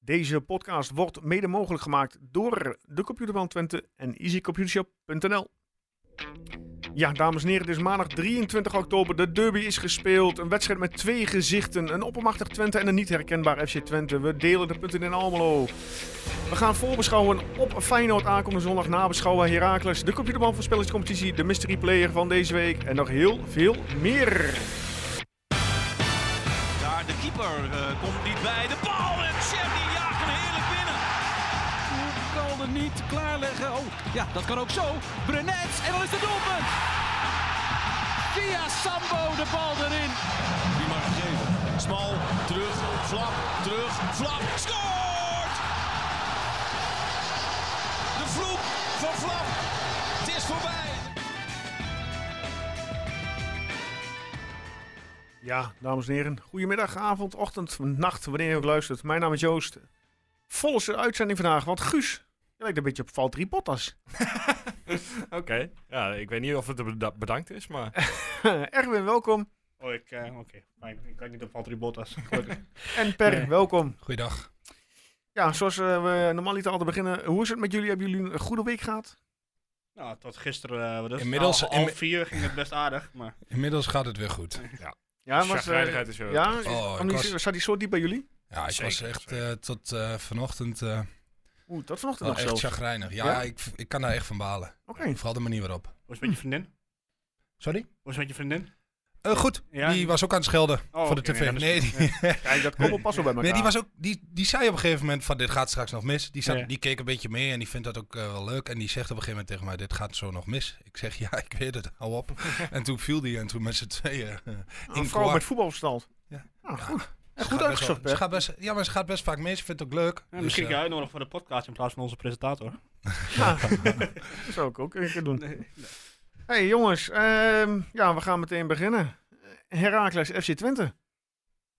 Deze podcast wordt mede mogelijk gemaakt door de Computerbaan Twente en easycomputershop.nl. Ja, dames en heren, het is maandag 23 oktober. De derby is gespeeld. Een wedstrijd met twee gezichten. Een oppermachtig Twente en een niet herkenbaar FC Twente. We delen de punten in Almelo. We gaan voorbeschouwen op Feyenoord aankomende zondag. Nabeschouwen Heracles, de Computerbaan voorspellingscompetitie, de mystery player van deze week. En nog heel veel meer. Daar de keeper eh, komt niet bij. De bal en Chef die jaagt hem heerlijk binnen. Hoe kan het niet klaarleggen? Oh, ja, dat kan ook zo. Brenet en dan is het doelpunt. Via Sambo de bal erin. Die mag geven. Smal, terug, flap, terug, flap. Scoort! De vloek van flap. Het is voorbij. Ja, dames en heren. Goedemiddag, avond, ochtend, nacht, wanneer je ook luistert. Mijn naam is Joost. Volle uitzending vandaag, want Guus, je lijkt een beetje op Valtteri Bottas. Oké. Ja, ik weet niet of het beda- bedankt is, maar... Erwin, welkom. Oh, ik, eh, oké, fijn. Ik kan niet op Valtteri Bottas. Gelukkig. En Per, Nee. welkom. Goeiedag. Ja, zoals eh, we normaal niet altijd beginnen. Hoe is het met jullie? Hebben jullie een goede week gehad? nou, tot gisteren, eh, wat is het? Inmiddels- half, half inmi- vier ging het best aardig, maar Inmiddels gaat het weer goed. Ja, was, eh, Chagrijnigheid is er. ja, Oh, kwam die- ik was- zat die zo diep bij jullie? Ja, ik was Zeker, echt zeker. eh, tot eh, vanochtend eh, Oeh, dat vanochtend wel nog Oh, echt zelfs. Oké. chagrijnig. Ja, Ja? Ik, ik kan daar echt van balen. Vooral de manier waarop. hoe is het met je vriendin? Sorry? Hoe is het met je vriendin? Eh, goed, Ja? die was ook aan het schelden Oh, voor de oké, tv. ja, dat is nee, die, goed. Kijk, dat komt wel pas wel bij elkaar. nee, die was ook. Die, die zei op een gegeven moment van dit gaat straks nog mis. Die, zat, Ja. die keek een beetje mee en die vindt dat ook eh, wel leuk. En die zegt op een gegeven moment tegen mij, dit gaat zo nog mis. Ik zeg ja, ik weet het. Hou op. en toen viel die en toen met z'n tweeën. eh, een in vrouw koor. Ah, met voetbalverstand. Ja. Ah, Ja. goed. Ze Goed gaat best uitgezocht, wel- hè? ze gaat best- Ja, maar ze gaat best vaak mee. Ze vindt het ook leuk. Ja, misschien Dus, kan eh, je uitnodigen voor de podcast in plaats van onze presentator. Ja. dat zou ik ook een keer doen. Hey jongens, ehm, ja, we gaan meteen beginnen. Herakles FC Twente.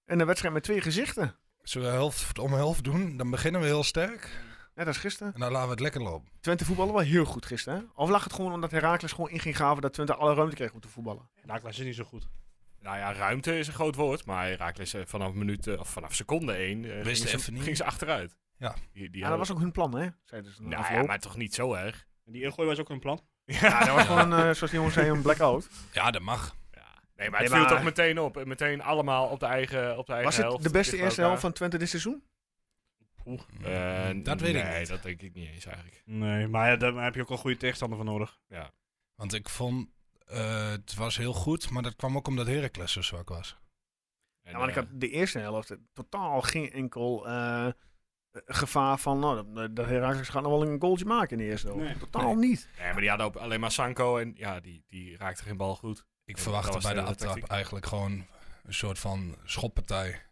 En een wedstrijd met twee gezichten. Zullen we helft om helft doen? Dan beginnen we heel sterk. Net als gisteren. En dan laten we het lekker lopen. Twente voetballen wel heel goed gisteren. Hè? Of lag het gewoon omdat Herakles gewoon in ging graven dat Twente alle ruimte kreeg om te voetballen? Nou, ik is niet zo goed. Nou ja, ruimte is een groot woord, maar Herakles eh, vanaf minuut, eh, of vanaf seconde één, eh, ging, Wist ze, even niet. ging ze achteruit. Ja. Die, die Ja, dat was ook hun plan, hè? Zeiden ze. na Nou ja, afloop. maar toch niet zo erg. En die ingooi was ook een plan. Ja, dat was gewoon, eh, zoals die jongens zeiden, een blackout. Ja, dat mag. Ja. Nee, maar het Nee, maar- viel toch meteen op. En Meteen allemaal op de eigen, op de eigen Was het helft, de beste tegen eerste elkaar. helft van Twente dit seizoen? Eh, Mm, dat weet ik Nee, niet. dat denk ik niet eens eigenlijk. Nee, maar ja, daar heb je ook wel goede tegenstander voor nodig. Want ik vond, eh, het was heel goed, maar dat kwam ook omdat Heracles zo zwak was. En, Ja, maar Nou, ik eh, had de eerste helft totaal geen enkel eh, gevaar van, nou, dat, dat Herakles gaat nog wel een goaltje maken in de eerste helft. Nee. Totaal niet. nee, maar die hadden ook alleen maar Sanko en ja, die, die raakte geen bal goed. Ik Ja, dat verwachtte was bij de de hele aftrap tactiek. eigenlijk gewoon een soort van schoppartij.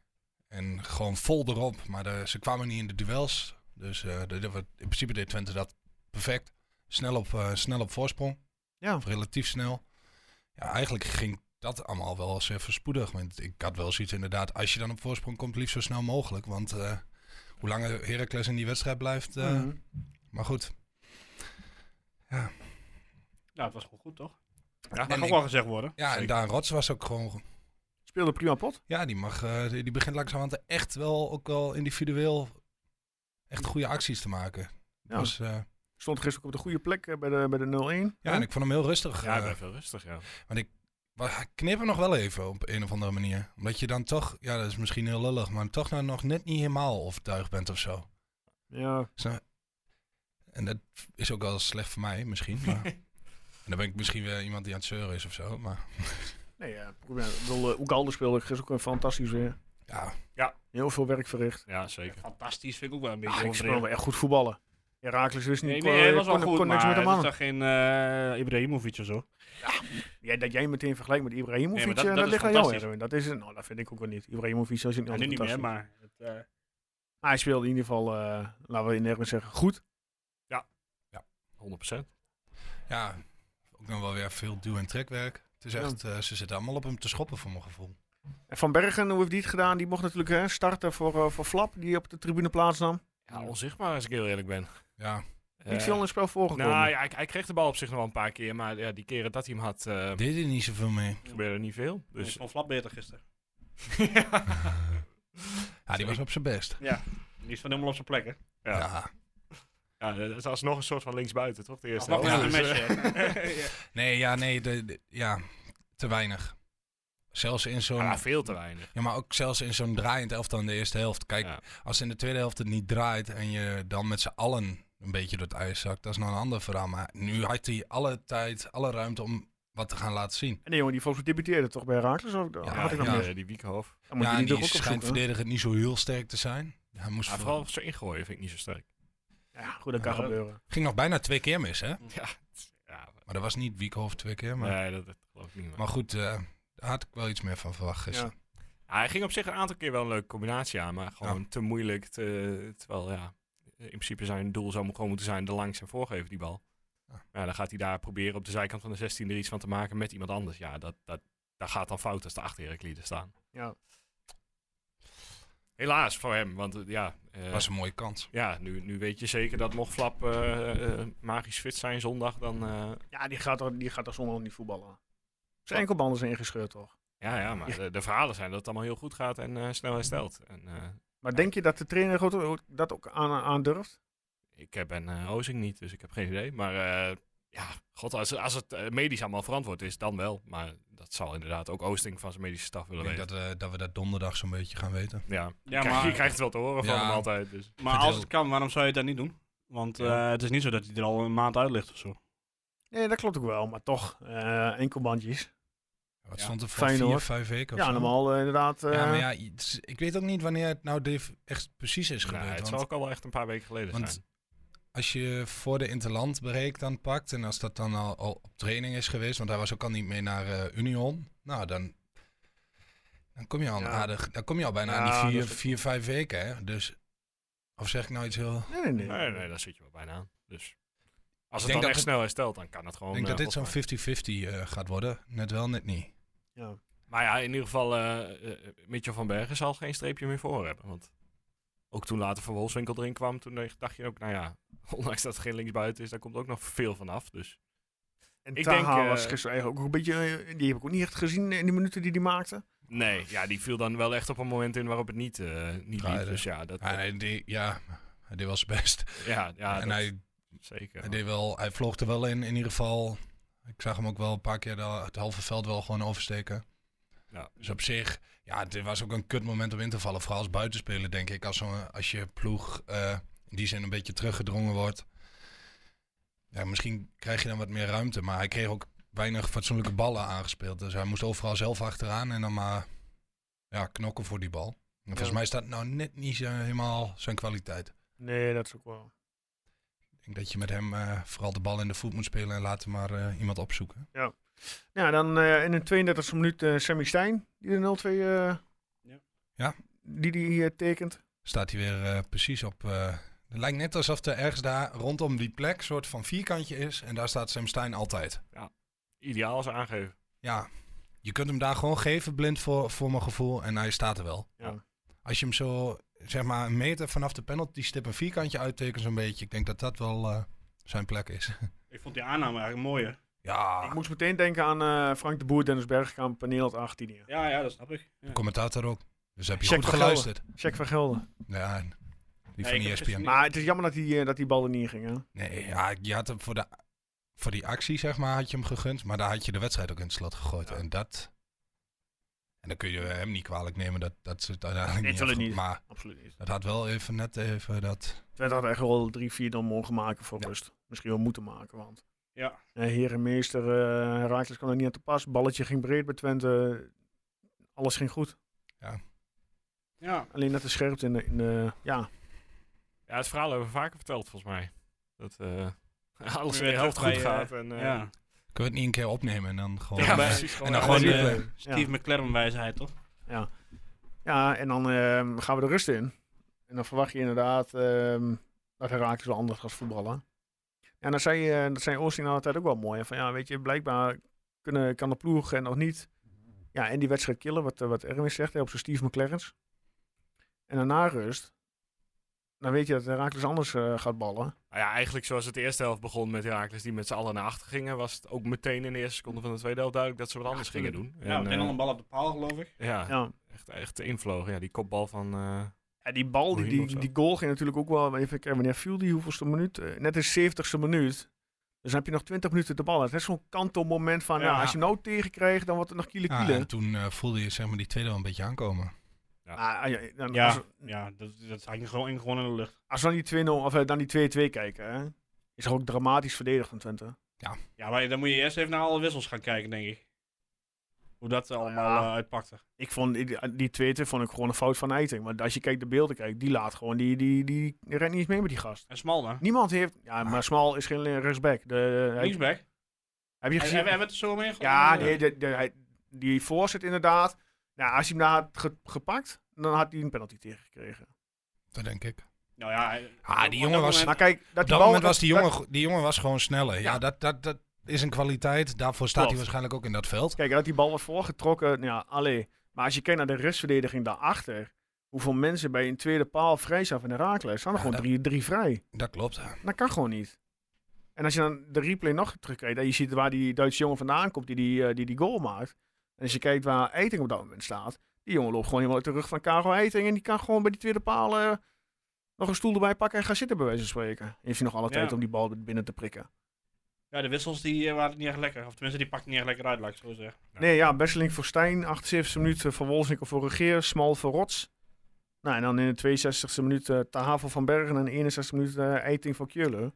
En gewoon vol erop. Maar de- ze kwamen niet in de duels. Dus eh, dat- dat- in principe deed Twente dat perfect. Snel op, eh, snel op voorsprong. Ja. Of relatief snel. Ja, eigenlijk ging dat allemaal wel zeer verspoedig. Want ik had wel zoiets inderdaad, als je dan op voorsprong komt, liefst zo snel mogelijk. Want eh, hoe langer Heracles in die wedstrijd blijft. eh, Mhm. Maar goed. Ja, het was gewoon goed, toch? Ja, Dat mag en ook ik- wel gezegd worden. Ja, en Zeker. Daan Rots was ook gewoon Speelde prima pot. Ja, die, mag, eh, die die begint langzamerhand echt wel, ook wel individueel echt goede acties te maken. Ja. Dus, eh, Stond gisteren ook op de goede plek eh, bij de, bij de 0-1. ja, en ik vond hem heel rustig. Ja, eh, ik ben veel rustig, ja. maar hij knip hem nog wel even op een of andere manier. Omdat je dan toch, ja dat is misschien heel lullig, maar toch nou nog net niet helemaal overtuigd bent of zo. Ja. Snap- En dat is ook wel slecht voor mij misschien. Maar... en dan ben ik misschien weer iemand die aan het zeuren is of zo. Maar Nee, ja. Ik bedoel, eh, Oegalde speelde gisteren ook een fantastisch weer. ja, Heel veel werk verricht. Ja, zeker. Ah, Fantastisch, vind ik ook wel een beetje Ja, ik overdreven. speelde echt goed voetballen. Herakles wist niet, Nee, kon- nee, het was wel kon, goed, kon niks maar met hem het is aan. toch geen eh Ibrahimovic of zo? Ja, dat jij meteen vergelijkt met Ibrahimovic, Nee, eh, maar dat, dat- dat is ligt aan jou. fantastisch. Erwin. Dat, is, nou, dat vind ik ook wel niet. Ibrahimovic is niet Ja, nu altijd niet meer, fantastisch. maar... Het, eh, Maar hij speelde in ieder geval, eh, laten we in Erwin zeggen, goed. 100%. ja, ook nog wel weer veel duw- en trekwerk. Het is Ja. echt, eh, ze zitten allemaal op hem te schoppen voor mijn gevoel. En Van Bergen, hoe heeft die het gedaan? Die mocht natuurlijk hè, starten voor, eh, voor Flap, die op de tribune plaatsnam. Ja, onzichtbaar als ik heel eerlijk ben. Ja, Niet Eh, veel in het spel voorgekomen. Nou ja, hij, hij kreeg de bal op zich nog wel een paar keer, maar ja, die keren dat hij hem had, eh deed er niet zoveel mee. gebeurde niet veel. Ik Dus vond Flap beter gisteren. ja. Ja, die was op zijn best. Ja. Die is van helemaal op zijn plek, hè? Ja. Ja. Ja, dat is alsnog een soort van linksbuiten, toch? De eerste Nog wel. helft. een Ja. Dus, eh, mesje. Nee, ja, nee, de, de- ja, te weinig. Zelfs in zo'n... ja, Ah. Ja. veel te weinig. maar ook zelfs in zo'n draaiend elftal in de eerste helft. Kijk, Ja. als in de tweede helft het niet draait en je dan met z'n allen een beetje door het ijs zakt, dat is nog een ander verhaal. Maar nu had hij alle tijd, alle ruimte om wat te gaan laten zien. En die jongen die volgens mij debuteerde toch bij Herakles? Of, ja, Ja, had ik nog ja. niet. die, eh, die Wiekhoff. Dan moet ja, je en die die toch ook schijnt opzoeken. Ah, verdedigend niet zo heel sterk te zijn. Hij moest Maar voor- vooral zo ingooien vind ik niet zo sterk. Ja, goed, dat kan Ja. gebeuren. Ging nog bijna twee keer mis, hè? Ja, het- ja Maar dat was niet Wiekhoff twee keer. Maar, nee, dat, dat geloof ik niet. Maar. maar goed, eh, daar had ik wel iets meer van verwacht gisteren. Ja, hij ging op zich een aantal keer wel een leuke combinatie aan, maar gewoon te moeilijk. Te, terwijl, ja, in principe zijn doel zou gewoon moeten zijn de langs en voorgeven, die bal. Ja. Maar ja, dan gaat hij daar proberen op de zijkant van de 16 er iets van te maken met iemand anders. Ja, dat, dat, daar gaat dan fout als de achter Heraclides staan. Ja. Helaas voor hem, want eh, ja... eh, was een mooie kans. Ja, nu, nu weet je zeker dat mocht Flap eh, eh, magisch fit zijn zondag, dan... eh, Ja, die gaat er, die gaat er zondag niet voetballen. Zijn enkelbanden zijn ingescheurd, toch? ja, ja, maar de, de verhalen zijn dat het allemaal heel goed gaat en eh, snel herstelt. En, eh, Maar denk je dat de trainer goed- dat ook aan, aandurft? ik heb ben eh, Ozing niet, dus ik heb geen idee. Maar eh, ja, god, als, als het eh, medisch allemaal verantwoord is, dan wel. Maar dat zal inderdaad ook Oosting van zijn medische staf Ik willen denk weten. dat, eh, dat we dat donderdag zo'n beetje gaan weten. Ja, Ja, Kijk, je maar, krijgt het wel te horen van Ja. hem altijd. Dus. maar Vertel. als het kan, waarom zou je dat niet doen? Want Ja. eh, het is niet zo dat hij er al een maand uit ligt of zo. Nee, dat klopt ook wel, maar toch. eh, enkelbandjes. Wat Ja. stond er voor Feyenoord. vier, vijf weken of Ja, zo? normaal eh, inderdaad. eh, Ja, maar ja, het is- ik weet ook niet wanneer het nou Dave echt precies is Nou, gebeurd. het want zal ook al wel echt een paar weken geleden want- zijn. als je voor de Interland break dan pakt en als dat dan al, al op training is geweest, want hij was ook al niet mee naar eh, Union, nou dan, dan kom je al Ja. aardig, dan kom je al bijna Ja, aan die vier, dat is- vier, vijf weken, hè? Dus of zeg ik nou iets heel? Nee, nee, nee. Nee, nee, daar zit je wel bijna aan. Dus als het denk dan dat echt het- snel herstelt, dan kan het Ik gewoon... denk dat eh, dit zo'n opgaan. 50-50 eh, gaat worden, net wel, net niet. Ja. Maar ja, in ieder geval, eh eh, Mitchell van Bergen zal geen streepje meer voor hebben. Want ook toen later Van Wolfswinkel erin kwam, toen dacht- dacht je ook, nou ja, ondanks dat het geen linksbuiten is, daar komt ook nog veel van af. Dus En Ik Taha denk, eh, was gisteren eigenlijk ook een beetje... eh, Die heb ik ook niet echt gezien in de minuten die die maakte. nee, ja, die viel dan wel echt op een moment in waarop het niet, eh niet liep. Draaide. Dus ja, dat, Ah, nee, die, ja, hij deed wel zijn best ja, ja en Ah, dat- hij, zeker. hij deed wel, hij vloog er wel in, in ieder geval. Ik zag hem ook wel een paar keer de- het halve veld wel gewoon oversteken. ja. Dus op zich, ja, dit was ook een kut moment om in te vallen. Vooral als buitenspeler, denk ik. Als, zo'n- als je ploeg eh, in die zin een beetje teruggedrongen wordt. Ja, misschien krijg je dan wat meer ruimte. Maar hij kreeg ook weinig fatsoenlijke ballen aangespeeld. Dus hij moest overal zelf achteraan en dan maar ja, knokken voor die bal. En volgens mij is dat nou net niet zo helemaal zijn kwaliteit. Nee, dat is ook wel... Ik denk dat je met hem eh, vooral de bal in de voet moet spelen en laten maar eh, iemand opzoeken. Ja, dan eh, in de 32e minuut eh Sammy Stein, die de 0-2... eh, Ja. Ja. Die die hier tekent. Staat hij weer eh, precies op. eh, het lijkt net alsof er ergens daar rondom die plek een soort van vierkantje is. En daar staat Sam Stein altijd. Ideaal als aangeven. ja, je kunt hem daar gewoon geven blind voor, voor mijn gevoel. En hij staat er wel. Ja. Als je hem zo, zeg maar, een meter vanaf de penalty stip een vierkantje uittekent zo'n beetje. Ik denk dat dat wel eh, zijn plek is. Ik vond die aanname eigenlijk mooier. ja, Ik moest meteen denken aan eh, Frank de Boer, Dennis Bergkamp en Nederland 18 hier. Ja, ja, dat snap ik. Ja. commentator ook. Dus heb je Check goed van geluisterd. Jack van Gelder. Ja, en Nee, ik die heb van E ESPN. gisteren niet- Maar het is jammer dat die, eh, dat die bal er niet in ging, hè? Nee, ja, je had hem voor, de, voor die actie, zeg maar, had je hem gegund. Maar daar had je de wedstrijd ook in het slot gegooid. Ja. En dat... En dan kun je hem niet kwalijk nemen dat, dat ze het uiteindelijk Nee, niet tuurlijk hebben. Maar Absoluut niet. dat had wel even net even dat... Twente had echt wel 3-4 dan mogen maken voor Ja. rust. Misschien wel moeten maken, want... Ja. eh, heer en meester, eh Herakles kwam er niet aan te pas. Balletje ging breed bij Twente. Alles ging goed. Ja. Alleen net de scherpte in de, in de- ja. Ja, het verhaal hebben we vaker verteld, volgens mij. Dat eh, alles Weer in de helft goed terug bij, eh, gaat. En, eh, ja. Kunnen we het niet een keer opnemen en dan gewoon... ja, bij- precies. Gewoon, en dan ja, gewoon, precies. eh, Steve McLaren wijsheid, toch? ja, en dan ehm, gaan we de rust in. En dan verwacht je inderdaad ehm, dat Herakles wel anders gaat voetballen. En dat zei, eh, dat zei Oosting altijd ook wel mooi. hè, Van ja, weet je, blijkbaar kunnen, kan de ploeg en nog niet. Ja, en die wedstrijd killen, wat, eh, wat Erwin zegt, hè, op zijn Steve McLaren's. En daarna rust, dan weet je dat Herakles anders eh, gaat ballen. Nou ja, eigenlijk zoals het de eerste helft begon met Herakles die met z'n allen naar achter gingen, was het ook meteen in de eerste seconde van de tweede helft duidelijk dat ze wat anders gingen doen. Ja, En, meteen eh, al een bal op de paal, geloof ik. ja, Ja. echt, echt invlogen. Ja, die kopbal van eh En die bal, die, Mourinho of die, zo. die goal ging natuurlijk ook wel. Even kijken, wanneer viel die? Hoeveelste minuut? Eh, net in 70ste minuut. Dus dan heb je nog 20 minuten de bal. Het is zo'n kantelmoment van, Ja. nou, als je nou tegenkrijgt, dan wordt het nog kiele Ja, kiele. en toen eh, voelde je zeg maar, die tweede wel een beetje aankomen. Ah, ah, ja, dan- Ja, Als, ja dat, dat hang gewoon in, gewoon in de lucht. als we dan die 2-0, of eh, dan die 2-2 kijken, hè, is er ook dramatisch verdedigd van Twente. Ja, maar dan moet je eerst even naar alle wissels gaan kijken, denk ik. Hoe dat allemaal Ja. eh, uitpakte. Ik vond die- eh, die tweede vond ik gewoon een fout van Eiting. Want als je kijkt de beelden kijkt, die laat gewoon, die, die, die, die rent niet eens mee met die gast. En Smalna, Niemand heeft, ja, maar Smal is geen rechtsback. De, hij- linksback. heb je Hebben gezien? hebben we het er zo mee gehad? ja, nee, de, de, hij- die voorzet inderdaad. Nou, als hij hem daar had ge- gepakt, dan had hij een penalty tegengekregen. Dat denk ik. Nou ja, hij- Ah, die op jongen dat was- Maar kijk, moment- dat Op die dat bal- moment was die dat- jongen, go- die jongen was gewoon sneller. Ja, Ja. dat, dat, dat is een kwaliteit. Daarvoor staat Klopt. hij waarschijnlijk ook in dat veld. Kijk, dat die bal was voorgetrokken, ja, allee. Maar als je kijkt naar de restverdediging daarachter, hoeveel mensen bij een tweede paal vrij staan van Herakles, staan er Ja, gewoon dat- drie, drie vrij. Dat klopt. Dat kan gewoon niet. En als je dan de replay nog terugkijkt en je ziet waar die Duitse jongen vandaan komt die die, eh, die, die goal maakt. En als je kijkt waar Eiting op dat moment staat, die jongen loopt gewoon helemaal uit de rug van Karel Eiting en die kan gewoon bij die tweede paal eh, nog een stoel erbij pakken en gaan zitten bij wijze van spreken. Heeft hij nog alle Ja. tijd om die bal binnen te prikken. Ja, de wissels die eh, waren niet echt lekker. Of tenminste, die pakten niet echt lekker uit, laat ik het zo zeggen. Ja. Nee, ja, Besseling voor Stijn, 78 minuten voor Wolfswinkel voor Regeer, Smal voor Rots. Nou, en dan in de 62e minuut eh Tahavel van Bergen en 61 minuten eh, Eiting voor Keulen.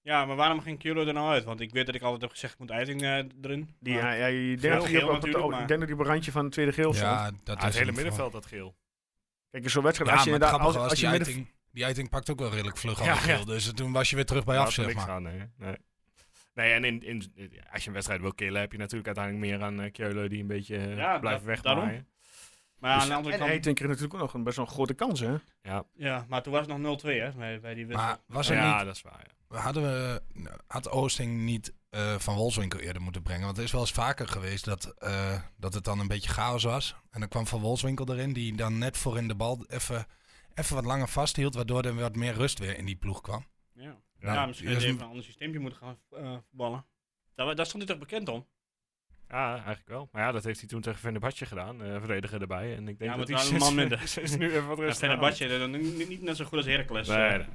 Ja, maar waarom ging Kjolo er nou uit? Want ik weet dat ik altijd heb gezegd, ik moet Eiting eh, erin. Die, Maar- hij, hij- ik denk Geel dat hij op- natuurlijk, op het- op- maar- ik denk dat hij op een randje van het tweede geel stond. Ja, dat Ah, het hele is hem vooral. middenveld, dat geel. Kijk, in zo'n wedstrijd, Ja, als je maar het inderdaad... Als, grappige was, als je die, midden- uiting, die uiting pakt ook wel redelijk vlug Ja, al geel. ja. Dus toen was je weer terug bij Daar had af, er zeg niks maar. aan, nee. nee. Nee, en in, in, als je een wedstrijd wil killen, heb je natuurlijk uiteindelijk meer aan eh, Keulen die een beetje eh, Ja, blijft da- wegmaaien. Maar aan de andere En kant... Eiting kreeg natuurlijk ook nog een best wel een grote kans, Nou hè? Ja, Ja, maar toen was het nog 0-2, hè, bij, bij die wissel. Maar was er ja dat is waar. Ja. niet, hadden we, had Oosting niet eh, Van Wolfswinkel eerder moeten brengen? Want het is wel eens vaker geweest dat, eh, dat het dan een beetje chaos was. En dan kwam Van Wolfswinkel erin, die dan net voor in de bal even, even wat langer vasthield. Waardoor er wat meer rust weer in die ploeg kwam. Ja. Ja, ja, misschien die is even een- een ander systeempje moeten gaan eh ballen. Daar, daar stond hij toch bekend om? Ja, eigenlijk wel. Maar ja, dat heeft hij toen tegen Fenerbahce gedaan. eh verdediger erbij. En ik denk dat Ja, maar hij het waren een sinds- man minder. sinds nu even wat Ja, rustiger aan. Fenerbahce, dat- niet, niet net zo goed als Heracles. Nee, eh, nee.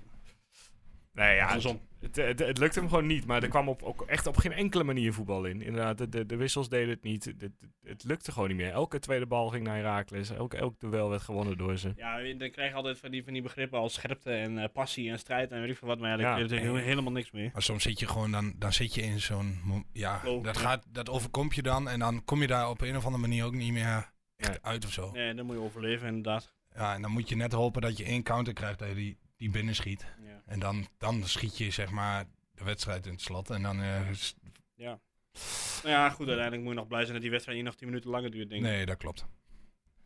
Nee, ja, het, andersom. het, het, het lukte hem gewoon niet. Maar er kwam op, ook echt op geen enkele manier voetbal in. Inderdaad, de, de, de wissels deden het niet. Het, het- het lukte gewoon niet meer. Elke tweede bal ging naar Herakles. Elk, elk duel werd gewonnen door ze. Ja, dan krijg je altijd van die, van die begrippen als scherpte en eh, passie en strijd en weet ik veel wat. Maar ja, daar Ja. kun je natuurlijk heel- helemaal niks meer. Maar soms zit je gewoon, dan, dan zit je in zo'n... mo- Ja, Oh, dat, ja. gaat, dat overkomt je dan. En dan kom je daar op een of andere manier ook niet meer echt Nee. uit of zo. Nee, dan moet je overleven inderdaad. Ja, en dan moet je net hopen dat je één counter krijgt dat je die, die binnen schiet. Ja. En dan, dan schiet je zeg maar de wedstrijd in het slot. En dan, eh, is- Nou ja, goed, uiteindelijk moet je nog blij zijn dat die wedstrijd hier nog 10 minuten langer duurt, denk ik. nee, dat klopt.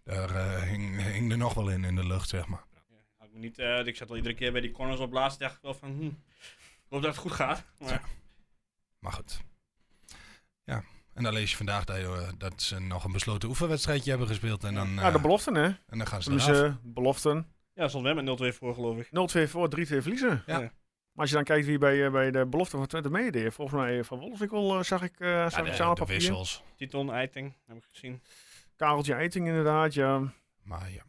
Daar eh, hing, hing er nog wel in, in de lucht, zeg maar. Ja, had ik me niet, eh, ik zat al iedere keer bij die corners op laatst dacht ik wel van, hm, ik hoop dat het goed gaat. Maar Maar goed. Ja, en dan lees je vandaag dat, je, eh, dat ze nog een besloten oefenwedstrijdje hebben gespeeld. En dan, Ja, eh, de beloften, hè? en dan gaan ze Dus eraf. beloften. 0-2 ja, stond wel met 0-2 voor, geloof ik. voor, 3-2 verliezen. Ja. Maar als je dan kijkt wie bij, eh, bij de belofte van Twente meedeed, volgens mij van Wolfswinkel eh, zag ik, eh zag Ja, ik de, staan op de papier. wissels. Titon, Eiting, heb ik gezien. Kareltje Eiting inderdaad, ja. Maar ja,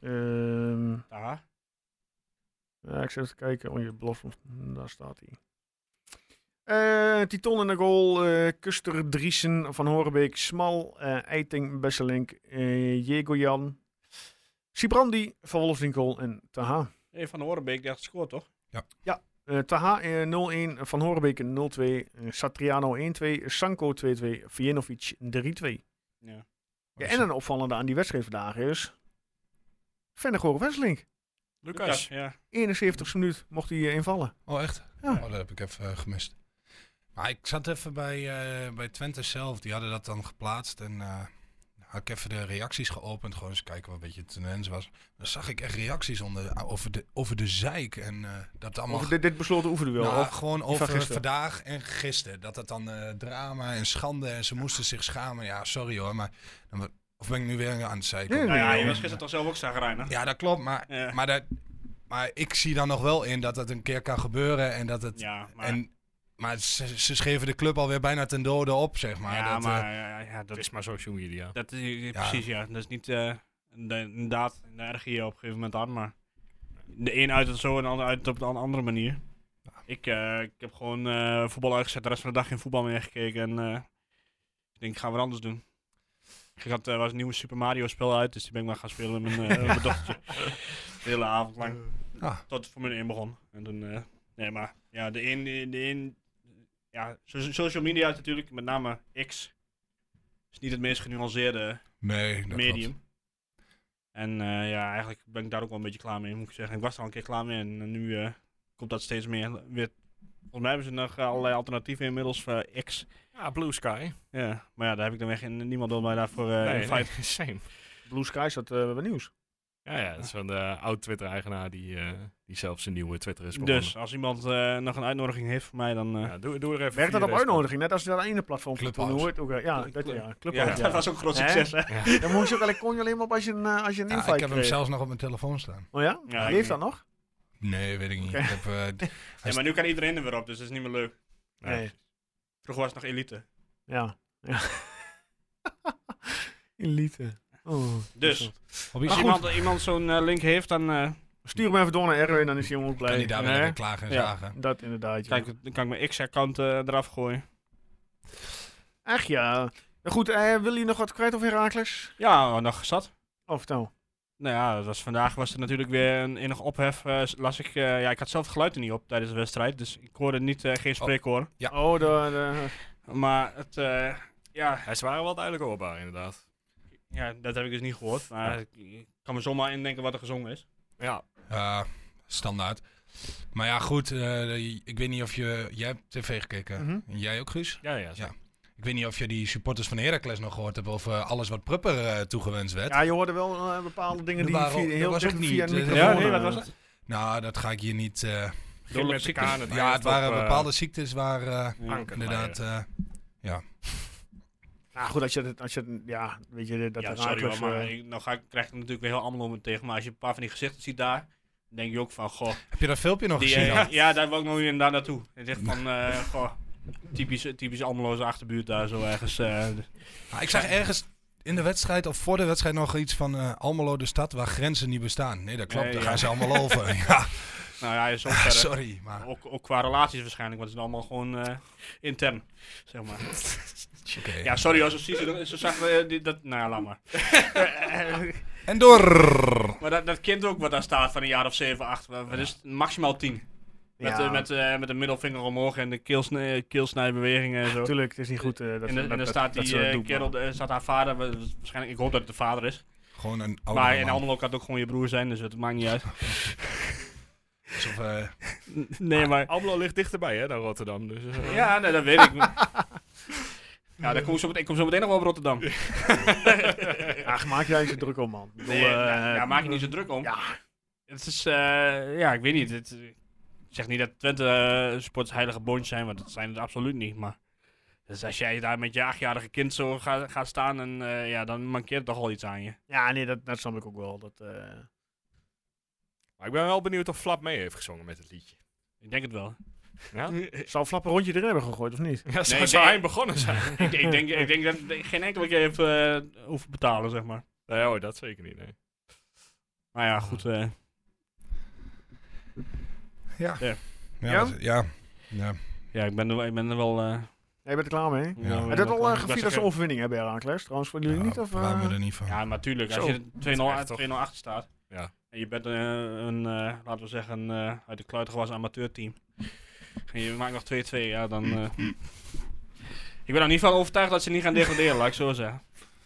Ehm, Daar. ja, ik zit even te kijken. Oh, je belofte. Daar staat hij. Eh, Titon in de goal. eh Kuster, Driesen, Van Horenbeek, Smal, eh, Eiting, Besselink, eh Jegojan, Sibrandi, Van Wolfswinkel en Taha. Hey, van de Horenbeek, die had gescoord, toch? Eh, Taha eh, 0-1, Van Horenbeek 0-2, eh, Satriano 1-2, Sanko 2-2, Vjenovic 3-2. Ja. Oh, Ja, en een opvallende aan die wedstrijd vandaag is... Vennegoor Wesselink. Lucas. Ja. 71 minuut mocht hij eh, invallen. Oh, echt? Ja. Oh, dat heb ik even eh, gemist. Maar ik zat even bij, eh, bij Twente zelf. Die hadden dat dan geplaatst. En eh, had ik even de reacties geopend. Gewoon eens kijken wat een beetje de tendens was. Dan zag ik echt reacties onder, ah, over, de, over de zeik. En eh, dat allemaal... Over dit, dit besloten oefenduel. Nou, of- gewoon van over gisteren. vandaag en gisteren. Dat het dan eh, drama en schande en ze moesten zich schamen. Ja, sorry hoor, maar... dan- of ben ik nu weer aan het zeiken? Nee, Nou ja, nee, je was gisteren toch zelf ook zagrijnig? Ja, dat klopt, maar, Ja. maar, dat, maar ik zie dan nog wel in dat het een keer kan gebeuren en dat het... Ja, maar... En, maar ze, ze schreven de club alweer bijna ten dode op, zeg maar. ja, dat, eh, maar ja, ja, Dat dat, is maar social media. dat is precies, ja. Dat is niet... eh, En de- inderdaad, en daar erger je je op een gegeven moment aan, maar de een uit het zo en de ander uit het op een andere manier. Ik, eh, ik heb gewoon eh, voetbal uitgezet, de rest van de dag geen voetbal meer gekeken en eh, ik denk, ik ga wat anders doen. Ik had, eh, was een nieuwe Super Mario spel uit, dus die ben ik maar gaan spelen met mijn, eh, met mijn dochtertje. De hele avond lang. Ah. Tot Formule 1 begon. En toen, eh, nee, maar ja, de een, de, de een ja, so- social media is natuurlijk, met name X, is niet het meest genuanceerde Nee, dat klopt. medium. En eh, ja, eigenlijk ben ik daar ook wel een beetje klaar mee, moet ik zeggen. Ik was er al een keer klaar mee en nu eh, komt dat steeds meer. Weer, volgens mij hebben ze nog eh, allerlei alternatieven inmiddels voor X. Ja, Blue Sky. Ja, maar ja, daar heb ik dan weer geen, niemand wil mij daarvoor eh nee, in feite- nee, same. Blue Sky is dat eh, wat nieuws. Ja, ja, dat is van de oud-Twitter-eigenaar die, eh die zelfs een nieuwe Twitter is begonnen. Dus als iemand eh, nog een uitnodiging heeft voor mij, dan... eh, ja, doe, doe er even Werkt dat vier op deze uitnodiging? Net als je dat ene platform Clubhouse. toen hoort. Ook, eh, ja, dat, ja, ja, Clubhouse. dat Ja, was ook een groot Hè? succes, hè? Dan moest je ook alleen, kon je alleen maar op als je een, eh, als je een Ja, invite ik heb hem kreeg. zelfs nog op mijn telefoon staan. Oh ja? Ja, ik- Leeft dat nog? Nee, weet ik niet. Oké. Ik heb, eh, d- Ja, maar nu kan iedereen er weer op, dus dat is niet meer leuk. Ja, Nee. Vroeger was het nog elite. Ja. ja. Elite. Oh, Dus, op iets als iemand iemand, iemand zo'n eh, link heeft, dan eh, Stuur hem even door naar Erwin, dan is hij ook blij. kan hij daar weer Nee, lekker klagen en Ja. zagen. Dat inderdaad. Ja. kijk, dan kan ik mijn X-account eh, eraf gooien. Echt ja. Nou Goed, eh, wil je nog wat kwijt over Herakles? Ja, nog zat. Of nou? Nou ja, dat was, vandaag was er natuurlijk weer een enig ophef. eh, s- las ik, eh, ja, ik had zelf het geluid er niet op tijdens de wedstrijd, dus ik hoorde niet, eh, geen spreekkoor. Ja. Oh, de, de- Maar het, eh, ja, Hij is waren wel duidelijk hoorbaar, inderdaad. ja, dat heb ik dus niet gehoord. Maar ik, ik kan me zomaar indenken wat er gezongen is. Ja, Ja, standaard. Maar ja, goed. eh, ik weet niet of je... Jij hebt tv gekeken. Mhm. En jij ook, Guus? ja, ja. zeker. Ik weet niet of je die supporters van Heracles nog gehoord hebt over alles wat Prupper eh, toegewenst werd. ja, je hoorde wel eh, bepaalde dingen Er die waren- via, er heel was ook dicht niet, via de eh, microfoon. Ja, nee, wat eh, was het? Nou, dat ga ik hier niet... eh, Geen met de ziektes. kanen. ja, het waren eh, eh, bepaalde ziektes waar eh, Ja. inderdaad... eh, Nou goed, als je, het- als je, het- ja, weet je, dat Ja, Herakles... sorry hoor, maar eh, ik, nou ga ik, krijg ik natuurlijk weer heel allemaal om me tegen. Maar als je een paar van die gezichten ziet daar, dan denk je ook van, Oh, goh. heb je dat filmpje nog Die, gezien? eh, dan? ja, daar wil ik nog inderdaad naartoe. Het is echt van, eh, goh, typisch, typisch Almeloze achterbuurt daar zo ergens. eh, Ah, ik zag ergens in de wedstrijd of voor de wedstrijd nog iets van eh, Almelo de stad waar grenzen niet bestaan. Nee, dat klopt. Nee, daar ja. gaan ze allemaal over. ja, nou ja, zo verder. sorry. Maar Ah. Ook, ook qua relaties waarschijnlijk, want het is allemaal gewoon eh, intern, zeg maar. oké. Ja, sorry als zo, zie je- zo zag eh, die- dat, nou ja, laat maar. En door. Maar dat, dat kind ook wat daar staat van een jaar of 7, 8, wat wat is het? maximaal 10. Met, ja, eh, met, eh, met de middelvinger omhoog en de keelsnij, keelsnijbewegingen en zo. Tuurlijk, het is niet goed eh, dat en, dan- en dan staat die eh, kerel, eh, staat haar vader, wa- wa- waarschijnlijk, ik hoop dat het de vader is. Gewoon een oude maar in man. Almelo kan het ook gewoon je broer zijn, dus het maakt niet uit. Alsof, eh, nee, maar... Almelo ligt dichterbij, hè, dan Rotterdam. Dus, eh, Ja, nee, dat weet ik. ja, dan kom ik, zo meteen, ik kom zo meteen nog wel op Rotterdam. Ach, maak jij eens zo druk om, man. Ik bedoel, Nee, nou, eh, ja, maak je niet zo druk om. Ja. Het is, eh, ja, ik weet niet. Het, ik zeg niet dat Twente eh, sports heilige boontjes zijn, want dat zijn het absoluut niet. Maar dus als jij daar met je achtjarige kind zo gaat, gaat staan, en, eh, ja, dan mankeert toch al iets aan je. Ja, nee, dat, dat snap ik ook wel. Dat, eh, Maar ik ben wel benieuwd of Flap mee heeft gezongen met het liedje. Ik denk het wel. Ja? Zal Flap een rondje erin hebben gegooid, of niet? Ja, zo Nee, zou nee. hij begonnen zijn. ik, ik, denk, ik denk dat ik geen enkele keer heeft eh, hoeven betalen, zeg maar. nee, hoor, dat zeker niet, nee. Maar ja, goed. eh, ja. Ja. Ja. Ja? dat- Ja. ja. ja, ik ben er, wel- ik ben er wel... eh, Nee, je bent er klaar mee? ik ben er Heb je dat wel- al ik eh, was er gevierd als een geen- overwinning, hè, bij Herakles? Trouwens, voor jullie Ja, niet? Of, daar waren eh? we er niet van. Ja, maar tuurlijk. Zo, Als je 2-0 echt toch. achter- 2-0 achter staat. Ja. En je bent eh, een, eh, laten we zeggen, een, eh, uit de kluit gewassen amateurteam. En je maakt nog 2-2, ja, dan... eh, ik ben er niet van overtuigd dat ze niet gaan degraderen, laat ik zo zeggen.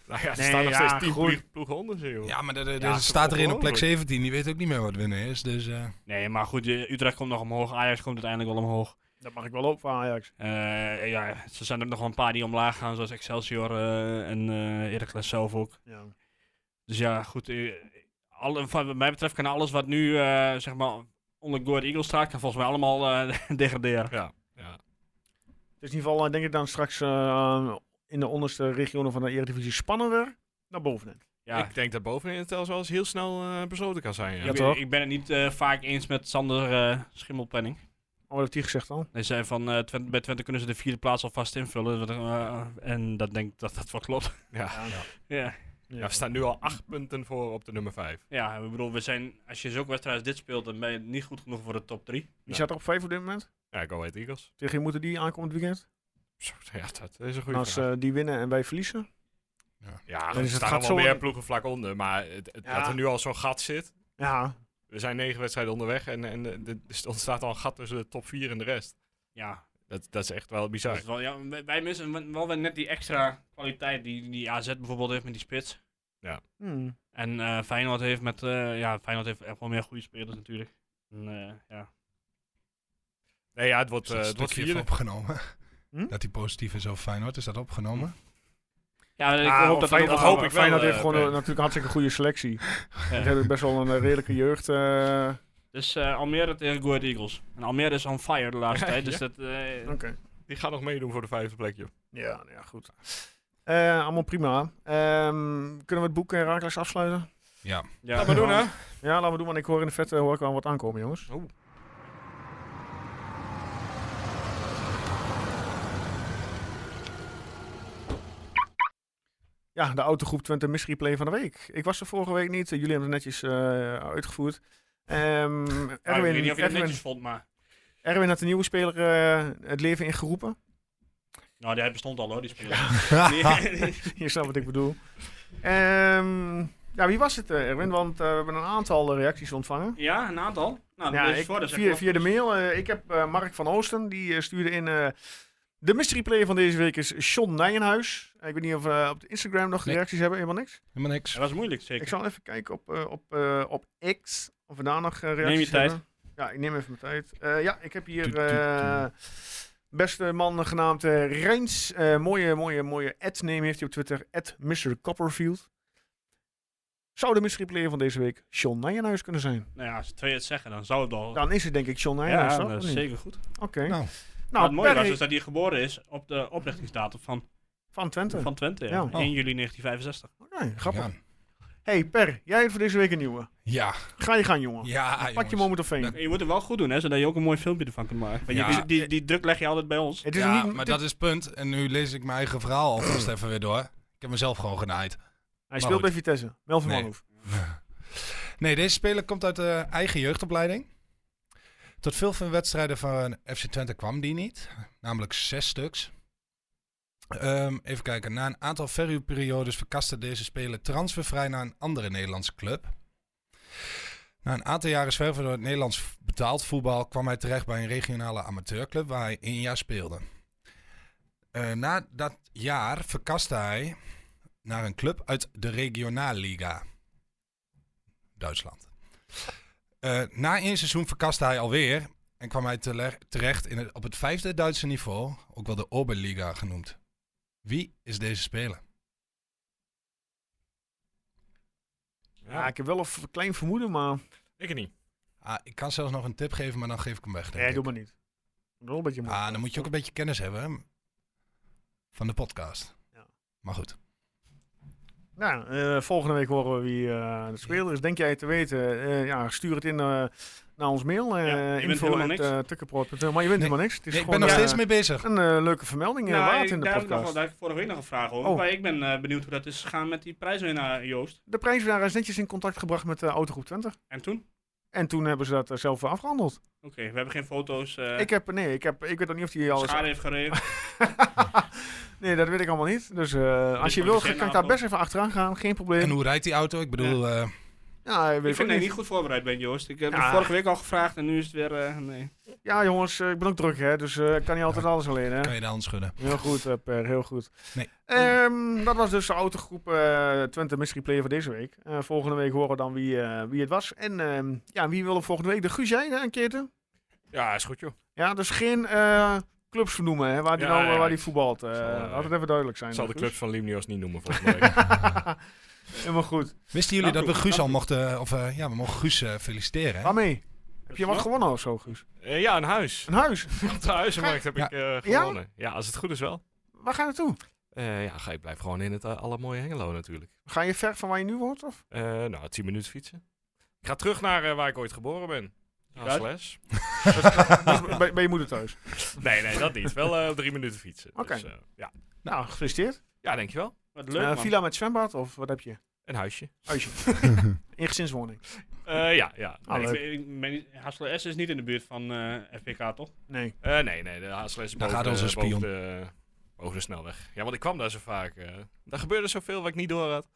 Nou ja, er Nee, staan nog ja, steeds tien goed. ploeg, ploegen onder ze, joh. Ja, maar dat, dat- Ja, dat staat erin op plek ongelooflijk. 17. Die weet ook niet meer wat winnen is. Dus, eh, Nee, maar goed, je- Utrecht komt nog omhoog. Ajax komt uiteindelijk wel omhoog. Dat mag ik wel op voor Ajax. Eh, ja, ze zijn er nog wel een paar die omlaag gaan, zoals Excelsior eh, en eh Heracles zelf ook. Ja. Dus ja, goed. eh, alle, van, wat mij betreft kan alles wat nu eh, zeg maar onder Go Ahead Eagles staat, kan volgens mij allemaal eh, degraderen. Ja, ja. Het is in ieder geval, eh, denk ik dan straks eh, in de onderste regionen van de Eredivisie spannender naar bovenin. Ja, Ik denk dat bovenin het zelfs wel eens heel snel eh, besloten kan zijn, ja. Ja, ik, toch? ik ben het niet eh, vaak eens met Sander eh, Schimmelpenning. Oh, wat heeft hij gezegd dan? Hij zei van, eh, Twen- bij Twente kunnen ze de vierde plaats alvast invullen. Eh, en dat denk ik dat dat wel klopt. Ja. ja. Ja, we staan nu al acht punten voor op de nummer vijf. Ja, ik bedoel, we zijn, als je zulke wedstrijden als dit speelt, dan ben je niet goed genoeg voor de top 3. Die staat er op vijf op dit moment. Ja, Go Ahead Eagles. Tegen wie moeten die aankomend weekend? Zo, Ja, dat is een goede Als vraag. eh, die winnen en wij verliezen. ja, dan er is het staan gat er wel zo- meer ploegen vlak onder. Maar het, het- Ja. dat er nu al zo'n gat zit. Ja, We zijn negen wedstrijden onderweg en, en eh, de- er ontstaat al een gat tussen de top vier en de rest. Ja, Dat, dat is echt wel Dus dat bizar. is wel, ja wij- wij missen wel- wel weer net die extra kwaliteit die, die AZ bijvoorbeeld heeft met die spits. Hmm. En eh, Feyenoord heeft met, eh, ja, Feyenoord heeft echt wel meer goede spelers natuurlijk. En, eh, ja. Nee, ja, het wordt, Is dat eh, het wordt stukje even vierde. opgenomen? Hm? Dat hij positief is over Feyenoord, is dat opgenomen? ja, ik Ah, hoop of dat Feyenoord- dat hoop of ik wel, Feyenoord eh, heeft gewoon een, Peter. natuurlijk een hartstikke goede selectie. Ze hebben best wel een eh, redelijke jeugd. eh, Dus eh, Almere tegen Go Ahead Eagles. En Almere is on fire de laatste tijd, dus Ja. dat... eh, Oké. Die gaat nog meedoen voor de vijfde plek, joh. Ja, nou ja, goed. Eh, allemaal prima. Ehm, kunnen we het boek Herakles afsluiten? Ja. ja. Laat maar doen, hè. Oh. Ja, laten we doen, want ik hoor in de vette hoor ik wel wat aankomen, jongens. Ja, de autogroep Twente Misreplay van de week. Ik was er vorige week niet. Jullie hebben het netjes eh, uitgevoerd. Ah, Ehm, Ja, ik weet Erwin, niet of je het Erwin, netjes vond, maar... Erwin had de nieuwe speler eh, het leven ingeroepen. Nou, die bestond al hoor, die speler. Nee. Je snapt wat ik bedoel. Ehm, ja, wie was het, eh, Erwin? Want eh, we hebben een aantal eh, reacties ontvangen. Ja, een aantal. Nou, Ja, lees eens ik, voor, dat is echt via, wel- via de mail. eh, ik heb eh, Mark van Oosten, die eh, stuurde in... eh, de mystery player van deze week is Sean Nijenhuis. Ik weet niet of we op de Instagram nog Nee. reacties hebben. Helemaal niks. Helemaal niks. Dat was moeilijk, zeker. Ik zal even kijken op, eh, op, eh, op X of we daar nog eh, reacties je tijd. hebben. Ja, ik neem even mijn tijd. Eh, ja, ik heb Toet, hier toet, eh, beste man genaamd eh Rijns. Eh, mooie, mooie, mooie ad-name heeft hij op Twitter. At Mr. Copperfield. Zou de mystery player van deze week Sean Nijenhuis kunnen zijn? Nou ja, als twee het zeggen, dan zou het al... Dan is het denk ik Sean Nijenhuis, Oh. ja, toch? dat Of is niet? zeker goed. Oké. Nou, Nou, het mooie Perry was dus dat hij geboren is op de oprichtingsdatum van, van Twente. van Twente. ja. Ja. 1 juli 1965. Oké, grappig. Ja, Hey Per, jij hebt voor deze week een nieuwe. ja, Ga je gaan, jongen. ja Oh. Pak je jongens. moment of veen. En je moet hem wel goed doen, hè, zodat je ook een mooi filmpje ervan kunt maken. Want je- Ja. die, die, die druk leg je altijd bij ons. Het is Ja, niet, maar dit- dat is het punt. En nu lees ik mijn eigen verhaal alvast even weer door. Ik heb mezelf gewoon genaaid. hij maar speelt goed. bij Vitesse. Melvin Nee. Manhoef. Nee, deze speler komt uit de eigen jeugdopleiding. Tot veel van de wedstrijden van FC Twente kwam die niet. Namelijk zes stuks. Ehm, even kijken. Na een aantal verhuurperiodes verkaste deze speler transfervrij naar een andere Nederlandse club. Na een aantal jaren zwerven door het Nederlands v- betaald voetbal kwam hij terecht bij een regionale amateurclub waar hij één jaar speelde. Eh, na dat jaar verkaste hij naar een club uit de Regionalliga. Duitsland. Eh, na één seizoen verkaste hij alweer en kwam hij tele- terecht in het, op het vijfde Duitse niveau, ook wel de Oberliga genoemd. Wie is deze speler? Ja, Ja, ik heb wel een v- klein vermoeden, maar... ik het niet. Ah, ik kan zelfs nog een tip geven, maar dan geef ik hem weg. Denk Nee, ik. doe maar niet. Wel een beetje moeilijk. ah, dan moet je ook een beetje kennis hebben hè, van de podcast. Ja. Maar goed, Nou, eh, volgende week horen we wie eh, de speler is. Denk jij het te weten? Eh, ja, stuur het in eh, naar ons mail. eh Ja, je wint info helemaal at, niks. eh, tukkenproot.nl. maar je wint Nee, helemaal niks. Het is Nee, ik ben gewoon nog eh, steeds mee bezig. een eh, leuke vermelding eh, Nou, waard ik- in de daar, heb ik nog podcast. wel, daar heb ik vorige week nog een vraag over. Oh. Maar ik ben eh, benieuwd hoe dat is gegaan met die prijswinnaar eh, Joost. De prijswinnaar is netjes in contact gebracht met de Autogroep Twente. En toen? En toen hebben ze dat eh, zelf weer afgehandeld. Oké, we hebben geen foto's. eh Ik heb, nee, ik, heb, ik weet nog niet of die al is. schade heeft geregeld. nee, dat weet ik allemaal niet. Dus eh, als je moet wil, je geen kan ik daar naam best even achteraan gaan. Geen En probleem. hoe rijdt die auto? Ik bedoel, eh, Ja, weet Ik ik ook vind dat je niet. niet goed voorbereid bent, Joost. Ik heb Ja. het vorige week al gevraagd en nu is het weer... eh, nee. Ja, jongens, eh, ik ben ook druk, hè. Dus eh, ik kan niet altijd alles alleen, hè. kan je de hand schudden? Heel goed, eh, Per, heel goed. Nee. Ehm, dat was dus de autogroep eh Twente Mystery Player voor deze week. Eh, volgende week horen we dan wie, eh, wie het was. En ehm, ja, wie wil er volgende week? De Guus jij, hè, een keertje? Ja, is goed, joh. Ja, dus geen eh, clubs vernoemen, hè, waar die Ja, nou, eh, ja, waar die ik voetbalt. eh zal, eh, laat het even duidelijk zijn. Ik zal de Guus. clubs van Limnios niet noemen, volgens mij. Helemaal goed. Wisten jullie Nou, dat we goed, Guus nou, al mochten, of eh, ja, we mogen Guus eh, feliciteren? Hè? Waarmee? Heb je wat gewonnen of zo, Guus? Eh, ja, een huis. Een huis? Op de huizenmarkt heb ik eh, Ja? gewonnen. Ja, als het goed is wel. Waar ga je naartoe? Eh, ja, ga- ik blijf gewoon in het eh, allermooie Hengelo natuurlijk. Ga je ver van waar je nu woont? Of? Eh, nou, 10 minuten fietsen. Ik ga terug naar eh, waar ik ooit geboren ben. Als Uit? les. Dat is bij, bij je moeder thuis. Nee, nee, dat niet. Wel eh, op drie minuten fietsen. Oké. Dus, eh, ja. Nou, gefeliciteerd. ja, dankjewel. Wat leuk, Eh, man. villa met zwembad of wat heb je? Een huisje. Huisje. Ingezinswoning. Eh, ja, ja. Ah, Nee, leuk. Ik ben, ik ben niet- Hassler S is niet in de buurt van eh FPK, toch? Nee. Eh, nee, nee, de Haasles is Daar boven, gaat onze de- boven spion. de, boven de snelweg. Ja, want ik kwam daar zo vaak. eh, daar gebeurde zoveel wat ik niet door had.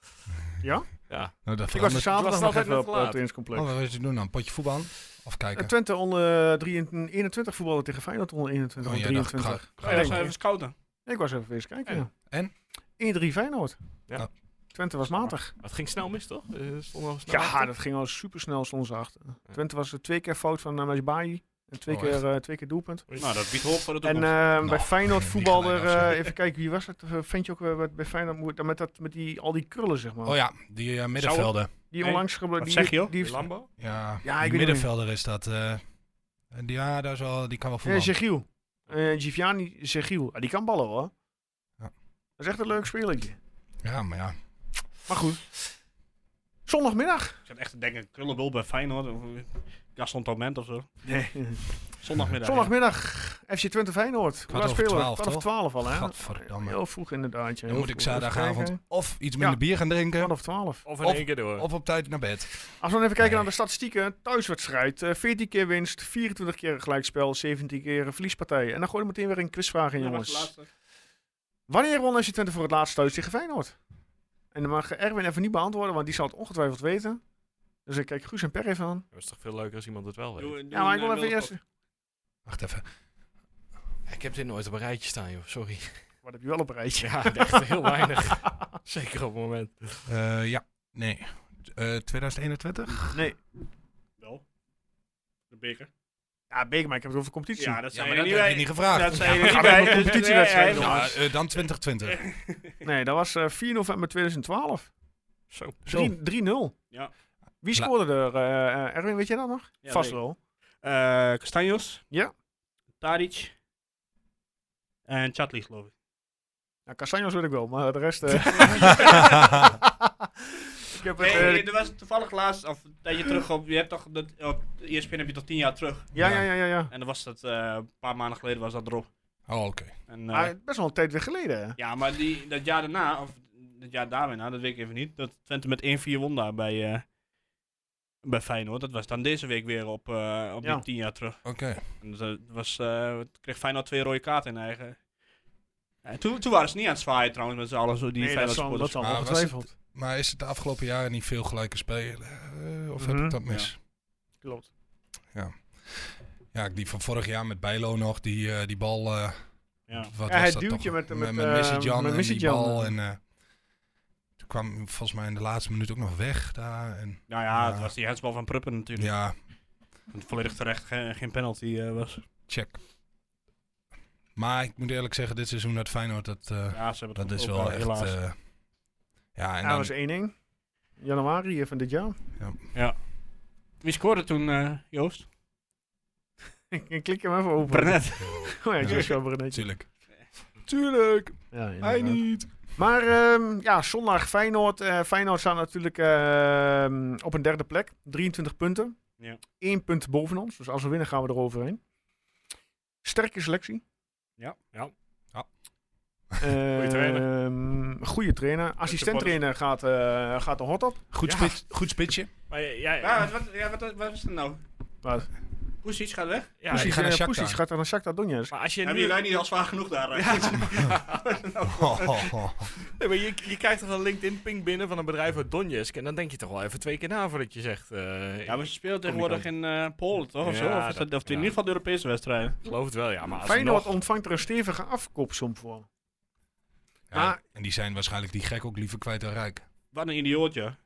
Ja? Ja. Nou, dat Ik was er verandert- zaterdag was nog altijd even op net eh, laat. het trainingscomplex. Oh, wat wil je doen dan? Potje voetbal? Of Eh, kijken? Twente onder eh, 21 voetballen tegen Feyenoord onder 21 Oh, onder jij dacht, 23. ga- Ga je daar denk zo ik. even scouten? Ik was even eens kijken. ja. En? 1-3 Feyenoord. Ja. Ja. Twente was matig. Maar het ging snel mis, toch? Eh, er stond al snel Ja, achter. dat ging al supersnel soms achter. Twente was er twee keer fout van uh, Mesbaai. En twee, Oh, keer, echt? eh, twee keer doelpunt. Nou, dat biedt hoop voor de En toekomst. eh, bij Feyenoord Nou, niet voetbalde gelijk er, eh, afzetten. even kijken, wie was dat? Eh, Ventje ook weer wat bij Feyenoord moet- met, dat, met die, al die krullen, zeg maar. Oh ja, die eh, middenvelder. Die Nee, onlangs gebeurde. wat die, zeg je, joh? Die, Die Lambo? Ja, Ja, ik die weet het middenvelder is dat. eh. En die, ja, daar is wel, die kan wel eh, voetballen. Zegiel. Eh, Giviani Zegiel. Ah, die kan ballen hoor. Ja. Dat is echt een leuk spelletje. ja, maar ja. Maar goed. Zondagmiddag. Ik zat echt te denken, krullenbul bij Feyenoord. Of eh, Gaston Torment of zo. Nee. Zondagmiddag. Zondagmiddag, FC Twente Feyenoord. Hoe Kwart laat over spelen we? twaalf, Kwart over twaalf al, hè? Gadverdamme. Heel vroeg inderdaad. Ja. Dan Heel moet ik vroeg. zaterdagavond Even kijken. of iets minder bier gaan Kwart drinken. over twaalf. Of in Of- één keer door. Of op tijd naar bed. Als we dan even kijken Nee. naar de statistieken. Thuiswedstrijd, eh, 14 keer winst, 24 keer gelijkspel, 17 keer een verliespartij. En dan gooi je meteen weer een quizvraag in, Ja, dat was de jongens. laatste. Wanneer won FC Twente voor het laatst thuis tegen Feyenoord? En dan mag Erwin even niet beantwoorden, want die zal het ongetwijfeld weten. Dus ik kijk Guus en Per even aan. Dat is toch veel leuker als iemand het wel weet. Doe- doe Ja, maar ik een, wil eh, even eerst... wilde Wacht even. Ik heb dit nooit op een rijtje staan, joh. Sorry. Oh, Wat heb je wel op een rijtje? Ja, echt heel weinig. Zeker op het moment. Eh, ja, nee. Eh, 2021? Nee. Wel. De beker. Ja, Beek, maar ik heb het over competitie. Ja, dat Ja, zijn maar er dat niet heb je bij. niet gevraagd. Dat zijn er Ja, niet maar bij. dat dus- competitiewedstrijd, nee, nee, Ja, jongens. eh, dan 2020. Nee, dat was eh, 4 november 2012. Zo. Zo. Drie- 3-0. Ja. Wie La- scoorde er? eh, eh, Erwin, weet jij dat nog? Ja, Vast weet wel. Eh, Castanjos. Ja. Tadic. En Chatli, geloof ik. Ja, Nou, Castanjos weet ik wel, maar de rest... eh, ik heb het... Nee, eh, nee, er was toevallig laatst, of een tijdje terug, op, je hebt toch, dat, op E de ESPN heb je toch tien jaar terug. ja, ja, ja, ja. ja. En dan was dat, eh, een paar maanden geleden was dat erop. Oh, oké. En, eh, Ah, best wel een tijd weer geleden. hè? ja, maar die, dat jaar daarna, of dat jaar daarna, dat weet ik even niet, dat Twente met 1-4 won daar bij, eh, bij Feyenoord. Dat was dan deze week weer op, eh, op Ja. die tien jaar terug. Oké. En dat eh, was, eh, kreeg Feyenoord twee rode kaarten in eigen... En toen, toen waren ze niet aan het zwaaien trouwens met z'n allen, zo die nee, dat Feyenoord zal, dat supporters. zal Maar was ongetwijfeld. Maar is het de afgelopen jaren niet veel gelijke spelen? Eh, of Mhm. heb ik dat mis? Klopt. Ja, die van vorig jaar met Bijlo nog, die, eh, die bal. eh, Ja. wat Ja, was het dat duwtje toch? met- met, met Missy eh, Jan met en Missy die Jan. bal. En, eh, toen kwam volgens mij in de laatste minuut ook nog weg daar. En, Nou ja, het Ja. was die handsbal van Pruppen natuurlijk. ja, Want Volledig terecht, geen, geen penalty eh, was. check. Maar ik moet eerlijk zeggen, dit seizoen uit Feyenoord, dat, eh, Ja, ze hebben het dat is ook wel wel, echt... helaas. eh, ja, en Ja, dat was dan, één ding. Januari eh, van dit jaar. Wie scoorde toen, eh, Joost? ik klik hem even open. Brenet. Oh ja, Ja. Joshua Brenet. tuurlijk. Tuurlijk, Ja, hij inderdaad. niet. Maar ehm, ja, zondag Feyenoord. Eh, Feyenoord staat natuurlijk ehm, op een derde plek. 23 punten. Ja. Eén punt boven ons. Dus als we winnen gaan we eroverheen. Sterke selectie. Ja. Ja. Ja. Goede trainer. trainer. Goede trainer. Assistent trainer gaat, eh, gaat de hot op. Goed, Ja. spits, goed spitsje. Maar ja, Ja, ja, wat, wat, ja, wat, wat was dat nou? Wat? Poesic gaat weg. ja, Precies. die Poesies, gaan eh, naar Shakhtar. Ah, Poesies gaat dan naar Shakhtar Donetsk. maar als je Hebben nu... jullie niet al zwaar genoeg daar? eh? Ja. Oh, Nee, maar je, je krijgt toch een LinkedIn-ping binnen van een bedrijf uit Donetsk en dan denk je toch wel even twee keer na voordat je zegt... eh, ja, maar ze speelt tegenwoordig in eh, Polen, toch? Ja, Of, zo? of, is dat- dat, of ja. in ieder geval de Europese wedstrijden. Ik geloof het wel, ja, maar Feyenoord alsnog... ontvangt er een stevige afkoopsom voor. Ja, Maar- en die zijn waarschijnlijk die gek ook liever kwijt dan rijk. Wat een idioot, ja.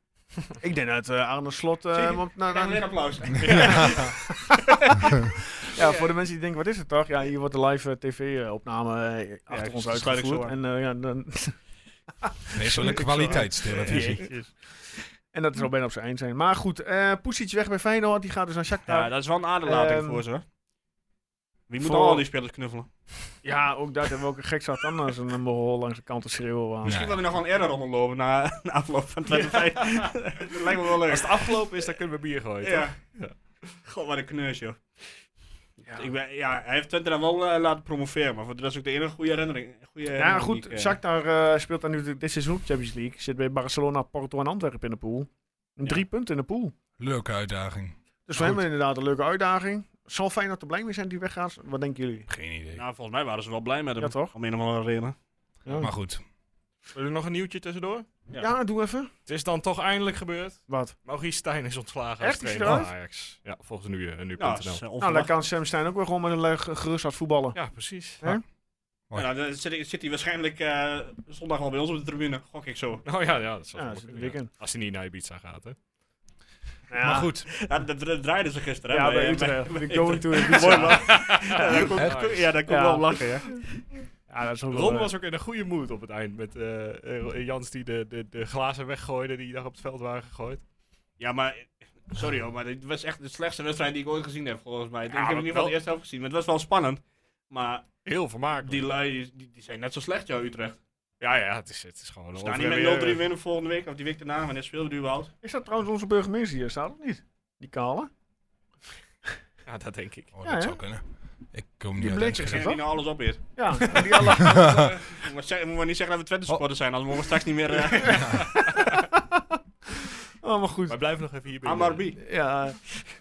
Ik denk dat eh Arne Slot... eh, Zeker. want nou, Krijg nou, weer applaus. Ja, voor de mensen die denken, wat is het toch? Ja, hier wordt de live eh, tv-opname eh, achter ik ons sluit ik zo uitgevoerd. aan. En, eh, ja, dan, Nee, zo'n Ik zou- kwaliteitstelevisie. en dat zal bijna op zijn eind zijn. Maar goed, eh Pusic weg bij Feyenoord. Die gaat dus naar Shakhtar. Ja, Ja, dat is wel een aderlating Ehm, voor ze. hoor. Wie moet voor- al die spelers knuffelen? ook daar hebben we ook een gek zat anders een behol langs de kant te schreeuwen. waren. Ja. Misschien wil hij nog wel een error rondlopen na, na afloop van 25. dat lijkt me wel leuk. Als het afgelopen is, dan kunnen we bier gooien. Ja. God, wat een kneus, joh. Ja. Ik ben, ja, hij heeft Twente dan wel eh, laten promoveren, maar voor de rest ook de enige goede herinnering. Goede Ja, herinnering goed. die ik, eh, Shakhtar eh, speelt dan nu dit- dit seizoen Champions League. Zit bij Barcelona, Porto en Antwerpen in de pool. Ja. Drie punten in de pool. Leuke uitdaging. Dus voor hem inderdaad een leuke uitdaging. Zal Feyenoord er blij mee zijn die weggaat? Wat denken jullie? Geen idee. Nou, volgens mij waren ze wel blij met hem. Ja, toch? Om een of andere reden. Maar goed, Wil je nog een nieuwtje tussendoor? Ja, doe even. Nou, Het is dan toch eindelijk gebeurd. Wat? Maurice Stijn is ontslagen Echt, als is trainer hij van eruit? Ajax. Ja, volgens nu, eh, nu.nl. Ja, dat is, eh, Nou, dan onverwacht. kan Sam Stein ook weer gewoon met een leuk gerust hart voetballen. ja, precies. Hè? kan- Ja, dan zit, hij- zit hij waarschijnlijk eh, zondag wel bij ons op de tribune. Gok ik zo. Oh ja, ja dat zal Ja, dat wel zit er kunnen, dik ja. in. Als hij niet naar Ibiza gaat, hè. Ja. maar goed. Ja, dat, dat draaiden ze gisteren. hè, Ja, bij bij- Utrecht. De bij going to Mooi, Ibiza. man. Ja, daar kon- Echt? Ja, daar kon Ja. wel om lachen, ja. Ja, dat is ook wel... Ron eh, was ook in een goede mood op het eind. Met eh, eh, Jans die de, de, de glazen weggooide die daar op het veld waren gegooid. Ja, maar... Sorry hoor, maar dit was echt de slechtste wedstrijd die ik ooit gezien heb, volgens mij. ik Ja, heb in maar ieder geval de wel- eerste helft gezien, maar het was wel spannend. Maar Heel vermakelijk. die lui, die, die zijn net zo slecht, jou, Utrecht. Ja, ja, het is, het is gewoon... een We staan niet met 0-3 overwinning. winnen volgende week, of die week daarna, wanneer speelden we überhaupt? Is dat trouwens onze burgemeester hier? Staat dat niet? Die kale? eh, Ja, dat denk ik. Oh, Ja, dat hè? zou kunnen. Ik kom niet Die uit blik is Enschede. Zijn die nou alles op weer? Ja. Die alle- Eh, moet maar zeggen- Moet maar niet zeggen dat we Twente Oh. supporters zijn, anders mogen we straks niet meer... eh, Oh, maar goed. Maar blijf nog even hier bij. Amar Bi. Ja. hey,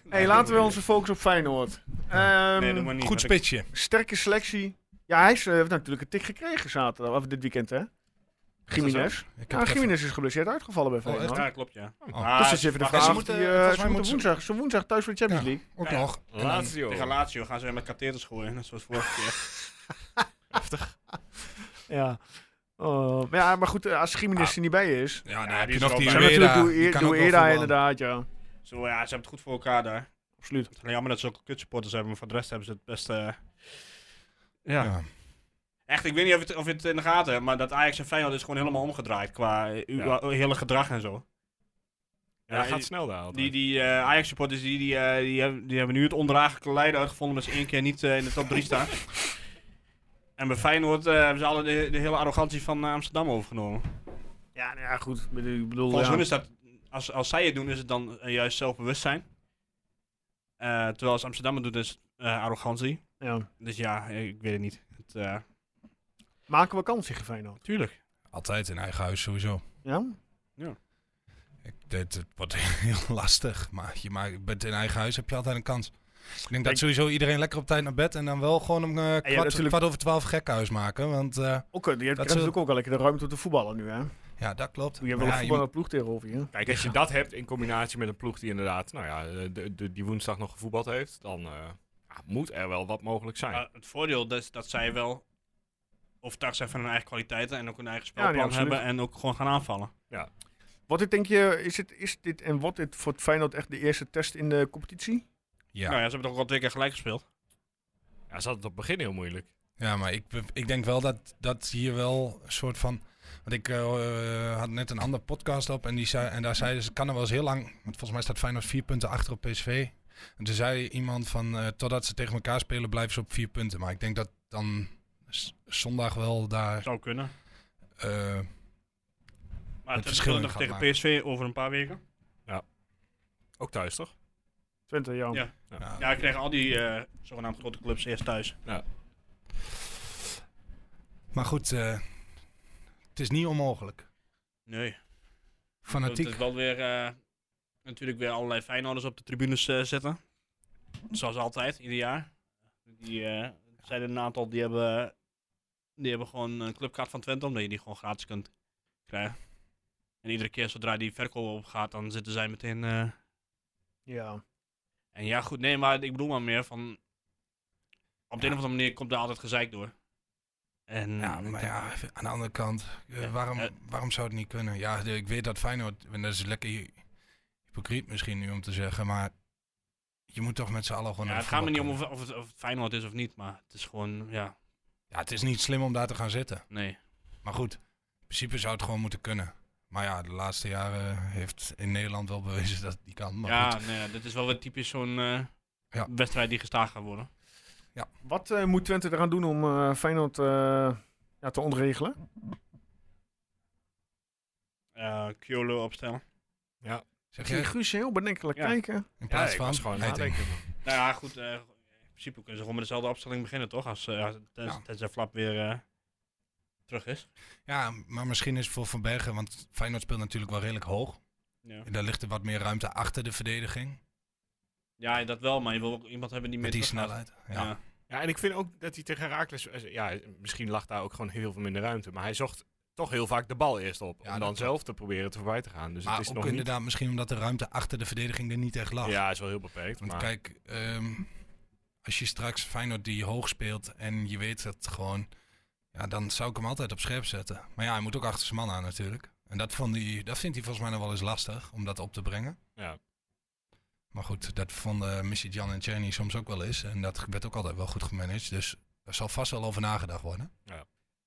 Nee, laten we doe onze focus op Feyenoord. Ehm, Nee, doe maar niet. Goed want ik- spitsje. sterke selectie. Ja, hij is, eh, heeft natuurlijk een tik gekregen zaterdag, of dit weekend, hè? Jiménez. Ik Ja, heb het even- Jiménez is geblesseerd uitgevallen bij Oh, echt? Feyenoord. Ja, klopt, ja. Oh. Maar dus dat is even de wacht, vraag. ze Ze moeten, moeten, eh, volgens mij moeten ze- woensdag, ze woensdag thuis voor de Champions Ja. League. Ook Ja. nog. En dan- Lazio. Tegen Lazio gaan ze weer met katheters gooien, net zoals vorige keer. Ja. Oh, maar, ja, maar goed, eh, als Jiménez er niet bij is. Ja, dan Ja, heb die je is nog er die wel Zijn bij. Ueda. natuurlijk Die doe, kan doe ook wel Era voetballen. inderdaad, ja. Zo ja, ze hebben het goed voor elkaar daar. Het Absoluut. is alleen jammer dat ze ook kutsupporters hebben, maar voor de rest hebben ze het best... eh, ja. Ja. Echt, ik weet niet of, het, of je het in de gaten hebt, maar dat Ajax en Feyenoord is gewoon helemaal omgedraaid qua eh, uw- Ja. hele gedrag en zo. Ja, Ja, dat gaat die- snel daar altijd. Die, die eh, Ajax-supporters die, die, eh, die, hebben, die hebben nu het ondraaglijke lijden uitgevonden dat ze één keer niet eh, in de top 3 staan. En bij Feyenoord eh, hebben ze alle de, de hele arrogantie van eh, Amsterdam overgenomen. Ja, nou ja, goed. Ik bedoel, Volgens ja. hun is dat, als, als zij het doen, is het dan eh, juist zelfbewustzijn. Eh, terwijl als Amsterdam het doet, is het eh, arrogantie. Ja. Dus ja, eh, ik weet het niet. Het, eh, Maken we kans tegen Feyenoord. Tuurlijk. Altijd in eigen huis sowieso. Ja? Ik, dit, het wordt heel lastig. Maar je maakt, bent in eigen huis heb je altijd een kans. Ik denk dat sowieso iedereen lekker op tijd naar bed. En dan wel gewoon om eh, kwart, natuurlijk- kwart over twaalf gekkenhuis maken. Want eh, Ook, eh, je hebt Dat natuurlijk ze- ook wel lekker de ruimte om te voetballen nu, hè? ja, dat klopt. Je hebt wel Maar ja, een je voetballer ploeg tegenover je. Kijk, als je dat hebt in combinatie met een ploeg die inderdaad, nou ja, eh, de, de, die woensdag nog gevoetbald heeft, dan eh, ja, moet er wel wat mogelijk zijn. Maar eh, het voordeel is dat zij wel overtuigd zijn van hun eigen kwaliteiten en ook hun eigen Ja, nee, spelplan absoluut. hebben en ook gewoon gaan aanvallen. Wat dit, denk je, is, het, is dit en wordt dit voor Feyenoord echt de eerste test in de competitie? moet- ja. Nou ja, ze hebben toch al twee keer gelijk gespeeld. Ja, ze hadden het op het begin heel moeilijk. Ja, maar ik, ik denk wel dat, dat hier wel een soort van. Want ik eh, had net een andere podcast op en, die zei, en daar zeiden ze: het kan er wel eens heel lang. Want volgens mij staat Feyenoord vier punten achter op PSV. En toen zei iemand van: eh, totdat ze tegen elkaar spelen, blijven ze op vier punten. Maar ik denk dat dan s- zondag wel daar. Zou kunnen. eh, Maar Het het, verschil verschil nog gaat tegen maken. PSV over een paar weken. Ook thuis, toch? Twente, ja. Ja. ja, Ja, ik krijg al die eh zogenaamd grote clubs eerst thuis. Maar goed, eh, het is niet onmogelijk. Nee. Het Fanatiek. is wel weer eh, natuurlijk weer allerlei Feyenoorders op de tribunes eh, zetten. Zoals altijd, ieder jaar. Die eh, er zijn er een aantal die hebben, die hebben gewoon een clubkaart van Twente, omdat je die gewoon gratis kunt krijgen. En iedere keer zodra die verkoop opgaat, dan zitten zij meteen. eh, Ja. En ja, goed, nee, maar ik bedoel maar meer van. Op de een of andere manier komt daar altijd gezeik door. En Ja, maar ja, aan de andere kant, eh, Ja, waarom, eh. waarom zou het niet kunnen? Ja, de- ik weet dat Feyenoord, en dat is lekker hy- hypocriet misschien nu om te zeggen, maar je moet toch met z'n allen gewoon Ja, naar het de gaat me niet om voetbal of, of, het, of het Feyenoord is of niet, maar het is gewoon, ja, kunnen. Ja, het is niet slim om daar te gaan zitten. nee. Maar goed, in principe zou het gewoon moeten kunnen. Maar ja, de laatste jaren heeft in Nederland wel bewezen dat het niet kan. Maar ja, goed, nee, ja, dit is wel weer typisch zo'n eh, Ja. wedstrijd die gestaag gaat worden. Wat eh, moet Twente eraan doen om eh, Feyenoord eh, ja, te ontregelen? Eh Kyolo opstellen. zeg Ik zie je, Guus heel bedenkelijk Ja. kijken. in plaats ik van... was gewoon aan Nee, het ik denk- nadenken. Nou ja, goed. eh, principe kunnen ze gewoon met dezelfde opstelling beginnen, toch? Als, eh, als- tenzij Ja. tenzij Flap weer eh, terug is. Ja, maar misschien is het voor Van Bergen, want Feyenoord speelt natuurlijk wel redelijk hoog. Ja. En daar ligt er wat meer ruimte achter de verdediging. ja, dat wel, maar je wil ook iemand hebben die meer Met die teruggaat. snelheid. Ja. Ja. Ja, en ik vind ook dat hij tegen Herakles... eh, Ja, misschien lag daar ook gewoon heel veel minder ruimte. Maar hij zocht toch heel vaak de bal eerst op. Ja, om dat dan klopt. zelf te proberen te voorbij te gaan. Dus maar het is ook nog niet... inderdaad misschien omdat de ruimte achter de verdediging er niet echt lag. Ja, is wel heel beperkt. Want maar... kijk, ehm, als je straks Feyenoord die hoog speelt en je weet het gewoon, ja, dan zou ik hem altijd op scherp zetten. Maar ja, hij moet ook achter zijn man aan natuurlijk. En dat, vond hij, dat vindt hij volgens mij nog wel eens lastig om dat op te brengen. Ja. Maar goed, dat vonden Missy Jan en Cheney soms ook wel eens. En dat werd ook altijd wel goed gemanaged. Dus daar zal vast wel over nagedacht worden.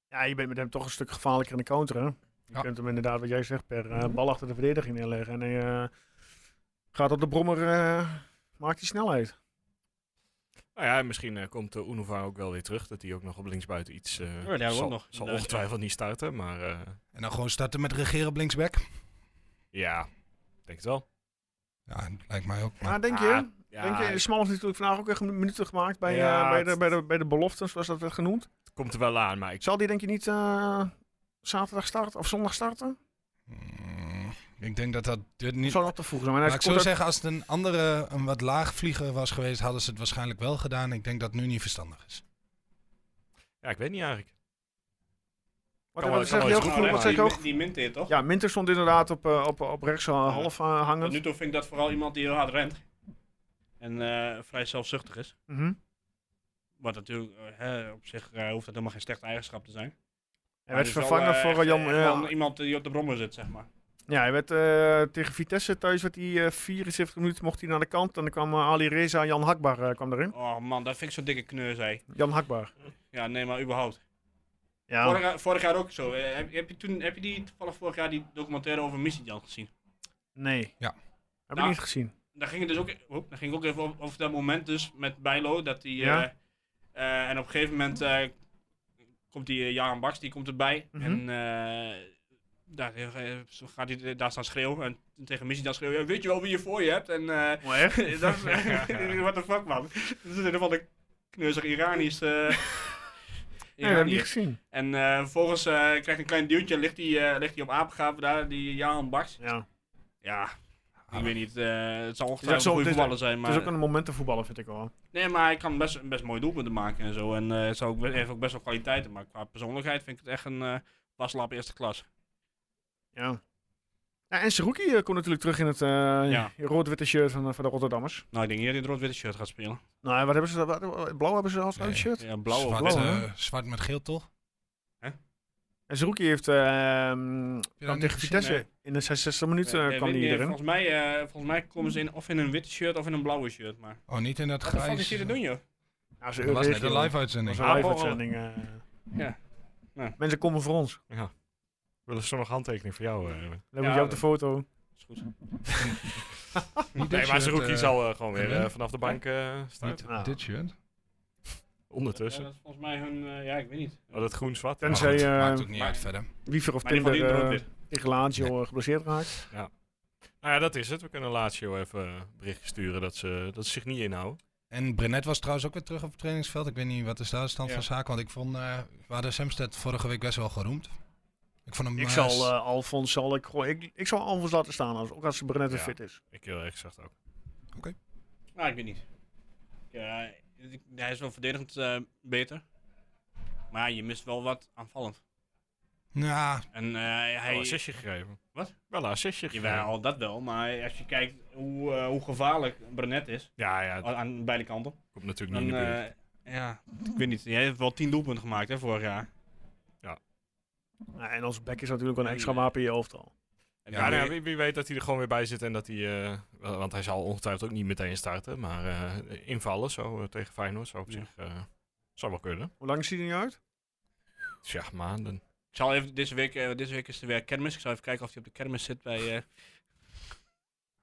Ja, je bent met hem toch een stuk gevaarlijker in de counter, hè? Je Ja. kunt hem inderdaad, wat jij zegt, per eh, bal achter de verdediging neerleggen. En hij eh, gaat op de brommer, eh, maakt die snelheid. Nou ja, misschien eh, komt de Unova ook wel weer terug. Dat hij ook nog op linksbuiten iets... eh Oh, Ja, die hebben we zal, ook nog, zal inderdaad, ongetwijfeld niet starten, maar... eh, En dan gewoon starten met regeren op linksback. ja, ik denk het wel. Ja, lijkt mij ook. Maar Maar denk je, Ah, Ja, denk je, de Smal heeft natuurlijk vandaag ook echt minuten gemaakt bij, eh, Ja, bij, het- de, bij, de, bij de beloften, zoals dat werd genoemd. het komt er wel aan, maar ik... Zal die denk je niet eh, zaterdag starten of zondag starten? mm, ik denk dat dat dit niet... Zal dat te vroeg zijn? Maar hij Maar ik komt zou uit- zeggen, als het een andere, een wat laagvlieger was geweest, hadden ze het waarschijnlijk wel gedaan. Ik denk dat het nu niet verstandig is. Ja, ik weet niet eigenlijk. wat- kan wel- wat kan zeg wel je heel eens goed, goed, maar wat zeg je ook? Nou, Die minteert toch? Ja, Minter stond inderdaad op, eh, op, op rechts eh, half eh, Tot hangend. nu toe vind ik dat vooral iemand die heel hard rent. En eh, vrij zelfzuchtig is. Mhm. Wat natuurlijk eh, hè, op zich eh, hoeft dat helemaal geen slechte eigenschap te zijn. Hij Maar werd het is wel, vervangen eh, voor eh, echt, Jan... eh, eh, gewoon iemand die op de brommer zit, zeg maar. Ja, hij werd eh, tegen Vitesse thuis, werd hij eh, 74 minuten mocht hij naar de kant. En dan kwam eh, Ali Reza Jan Hakbar eh, kwam erin. Oh man, dat vind ik zo'n dikke kneur, zei. Jan Hakbar. Ja, nee, maar überhaupt. Ja. Nou. Vorig, jaar- vorig jaar ook zo. Eh, heb, heb je toen, heb je die toevallig vorig jaar die documentaire over Missy gezien? Nee. Ja. Heb ik Nou, niet gezien. Daar ging het dus ook, oep, daar ging ook even over, over dat moment dus met Bijlo. Dat die, Ja. eh, eh, en op een gegeven moment eh, komt die eh, Jaren Baks, die komt erbij. Mhm. En eh, daar eh, zo gaat hij eh, daar staan schreeuwen. En tegen Missy dan schreeuwen, weet je wel wie je voor je hebt? En eh, Oh, echt? dat is, what the fuck, man. Dat is in ieder geval een kneuzig Iranisch. eh Nee, dat heb ik niet Iranier. gezien. En eh vervolgens eh, krijgt hij een klein duwtje en ligt hij, eh, ligt hij op apengaven daar, die Jan Baks. Ja. Ja, Ah. ik weet niet, eh, het zal Het is ongetwijfeld zo- een goede het is- voetballer zijn, maar... Het is ook een moment te voetballen, vind ik wel. Nee, maar hij kan best, best mooie doelpunten maken en zo. En eh, het zou ook, be- heeft ook best wel kwaliteiten, maar qua persoonlijkheid vind ik het echt een eh waslap eerste klas. Ja. ja en Seruki eh, komt natuurlijk terug in het eh, Ja. rood-witte shirt van, eh, van de Rotterdammers. Nou, ik denk niet dat hij in het rood-witte shirt gaat spelen. Nou, wat hebben ze? Wat, wat- blauw hebben ze als Nee. uit shirt. Ja, blauw of zwart, blauw. blauw, eh, hè? zwart met geel, toch? En Seruki heeft ehm, je dan dat tegen niet gezien? Vitesse in de 66e minuut eh, Eh, kwam weet die niet, erin. Volgens mij, eh, volgens mij komen ze in of in een witte shirt of in een blauwe shirt, maar... Oh, niet in dat Wat de fuck is grijs. eh. hij te doen, joh? Ja, ze Dat was net Euroregio. een live Dat was uitzending. een live Ah, oh, oh. uitzending. eh. Ja. Ja. Mensen komen voor ons. Willen ze nog handtekening voor jou? eh? Dan moet Ja, je op de dat- foto. Is goed. Niet Nee, dit maar shirt, Zerouki eh, zal eh, gewoon weer erin. eh, vanaf de bank eh staan. Niet Ah. dit shirt. Ondertussen. Ja, dat is volgens mij hun, eh, ja, ik weet niet. Oh, dat groen-zwart. Maar Tenzij, goed, eh, maakt ook niet maar- uit verder. Wiever of Maar in ieder geval die in Timber het eh, rood-wit. tegen Lazio eh, geblesseerd raakt. Nou ja, dat is het. We kunnen Lazio even eh, berichtje sturen dat ze, dat ze zich niet inhouden. En Brenet was trouwens ook weer terug op het trainingsveld. Ik weet niet wat is daar de stand Ja. van zaken. Want ik vond, eh we hadden Semsted vorige week best wel geroemd. Ik vond hem Ik eh, zal s- eh Alfons zal ik gewoon. Ik, ik zal Alfons laten staan als, ook als ze Brenet weer Ja. fit is. Ik heel erg gezegd ook. Nou, ik weet niet. Ja, ik- hij is wel verdedigend eh, beter. Maar ja, je mist wel wat aanvallend. Ja, En eh, Wel een hij... assistje gegeven. Wat? Wel een assistje gegeven. Jawel, dat wel. Maar als je kijkt hoe, eh, hoe gevaarlijk Brenet is, Ja, ja, dat a- aan beide kanten, komt natuurlijk Oh. dan... niet in de buurt. eh, ja, ik weet niet. Jij hebt wel 10 doelpunten gemaakt, hè, vorig jaar. Ja, Nou, en als back is natuurlijk wel een Ja, extra die- wapen in je hoofd al. En Ja, Ja, dan- nou ja, wie, wie weet dat hij er gewoon weer bij zit en dat hij... eh, wel, want hij zal ongetwijfeld ook niet meteen starten, maar eh, invallen zo eh, tegen Feyenoord zou op Ja. zich... eh, zou wel kunnen. Hoe lang ziet hij nu uit? Tja, maanden. Ik zal even deze week, eh, deze week is er weer kermis. Ik zal even kijken of hij op de kermis zit bij... eh,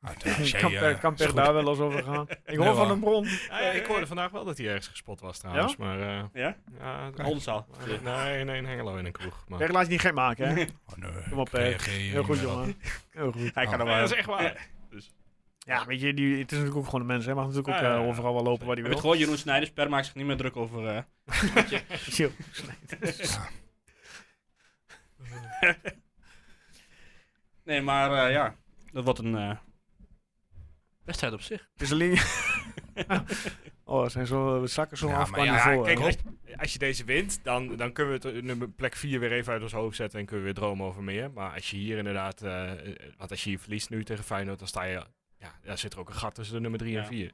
Ah, daar is kan jij, per, eh, kan per is goed. daar wel eens over gaan. Ik hoor Nee, van hoor. een bron. Ja, ja, ik hoorde vandaag wel dat hij ergens gespot was trouwens, maar... eh, ja? ja, Kijk. Oldenzaal. maar- nee, nee, in Hengelo in een kroeg. Maar... Berg laat je niet gek maken, hè? Oh, nee, Kom op, ik hè. reageer hier Heel goed, niet meer op. jongen. Heel goed. Hij Oh. kan Nee, er wel. dat is echt waar. Ja, weet je, die, het is natuurlijk ook gewoon een mens. Hij mag natuurlijk ook Ja, ja, eh, ja. overal wel lopen waar hij Je weet wil. gewoon, Jeroen Snijders, per maakt zich niet meer druk over... eh, Chill. Nee, maar eh, ja, dat wordt een eh, wedstrijd op zich. Het is alleen... oh, er zijn zo, we zakken zo Ja, af maar qua ja, niveau. hè. kijk, als, als je deze wint, dan, dan kunnen we het eh, nummer plek 4 weer even uit ons hoofd zetten en kunnen we weer dromen over meer. Maar als je hier inderdaad, eh, eh, want als je hier verliest nu tegen Feyenoord, dan sta je, ja, daar zit er ook een gat tussen de nummer 3 en Ja. 4.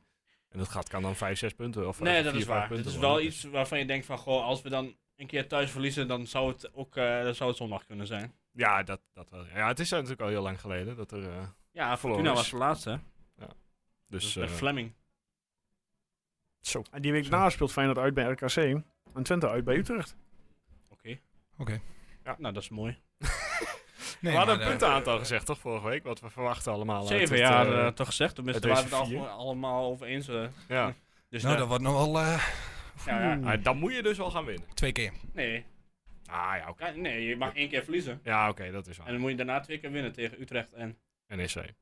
En dat gat kan dan 5, 6 punten of nee, eh, dat vier, is vijf waar. Het punten is wel dus. worden. iets waarvan je denkt van, goh, als we dan een keer thuis verliezen, dan zou het ook eh, dan zou het zondag kunnen zijn. Ja, dat, dat wel. Ja, het is natuurlijk al heel lang geleden dat er. eh, Ja, Fortuna Verloren is. was de laatste. hè? dus. Dus met eh, Fleming. zo. En die week na speelt Feyenoord uit bij RKC. En Twente uit bij Utrecht. Oké. Oké. Ja. Nou, dat is mooi. Nee, we hadden maar, een eh, puntenaantal gezegd, toch, vorige week? Wat we verwachten allemaal. uit Zeven het, jaar eh, eh, toch gezegd. Tenminste, uit daar deze waren we het al vier. gewoon allemaal over eens. eh. ja. dus nou, eh, dat wordt nog wel eh, ja, ja. Oeh. Maar dan moet je dus wel gaan winnen. twee keer. Nee, Ah, ja, oké. Ja, nee, je mag één keer verliezen. Ja, oké, dat is En waar. E dan moet je daarna twee keer winnen tegen Utrecht en... NEC.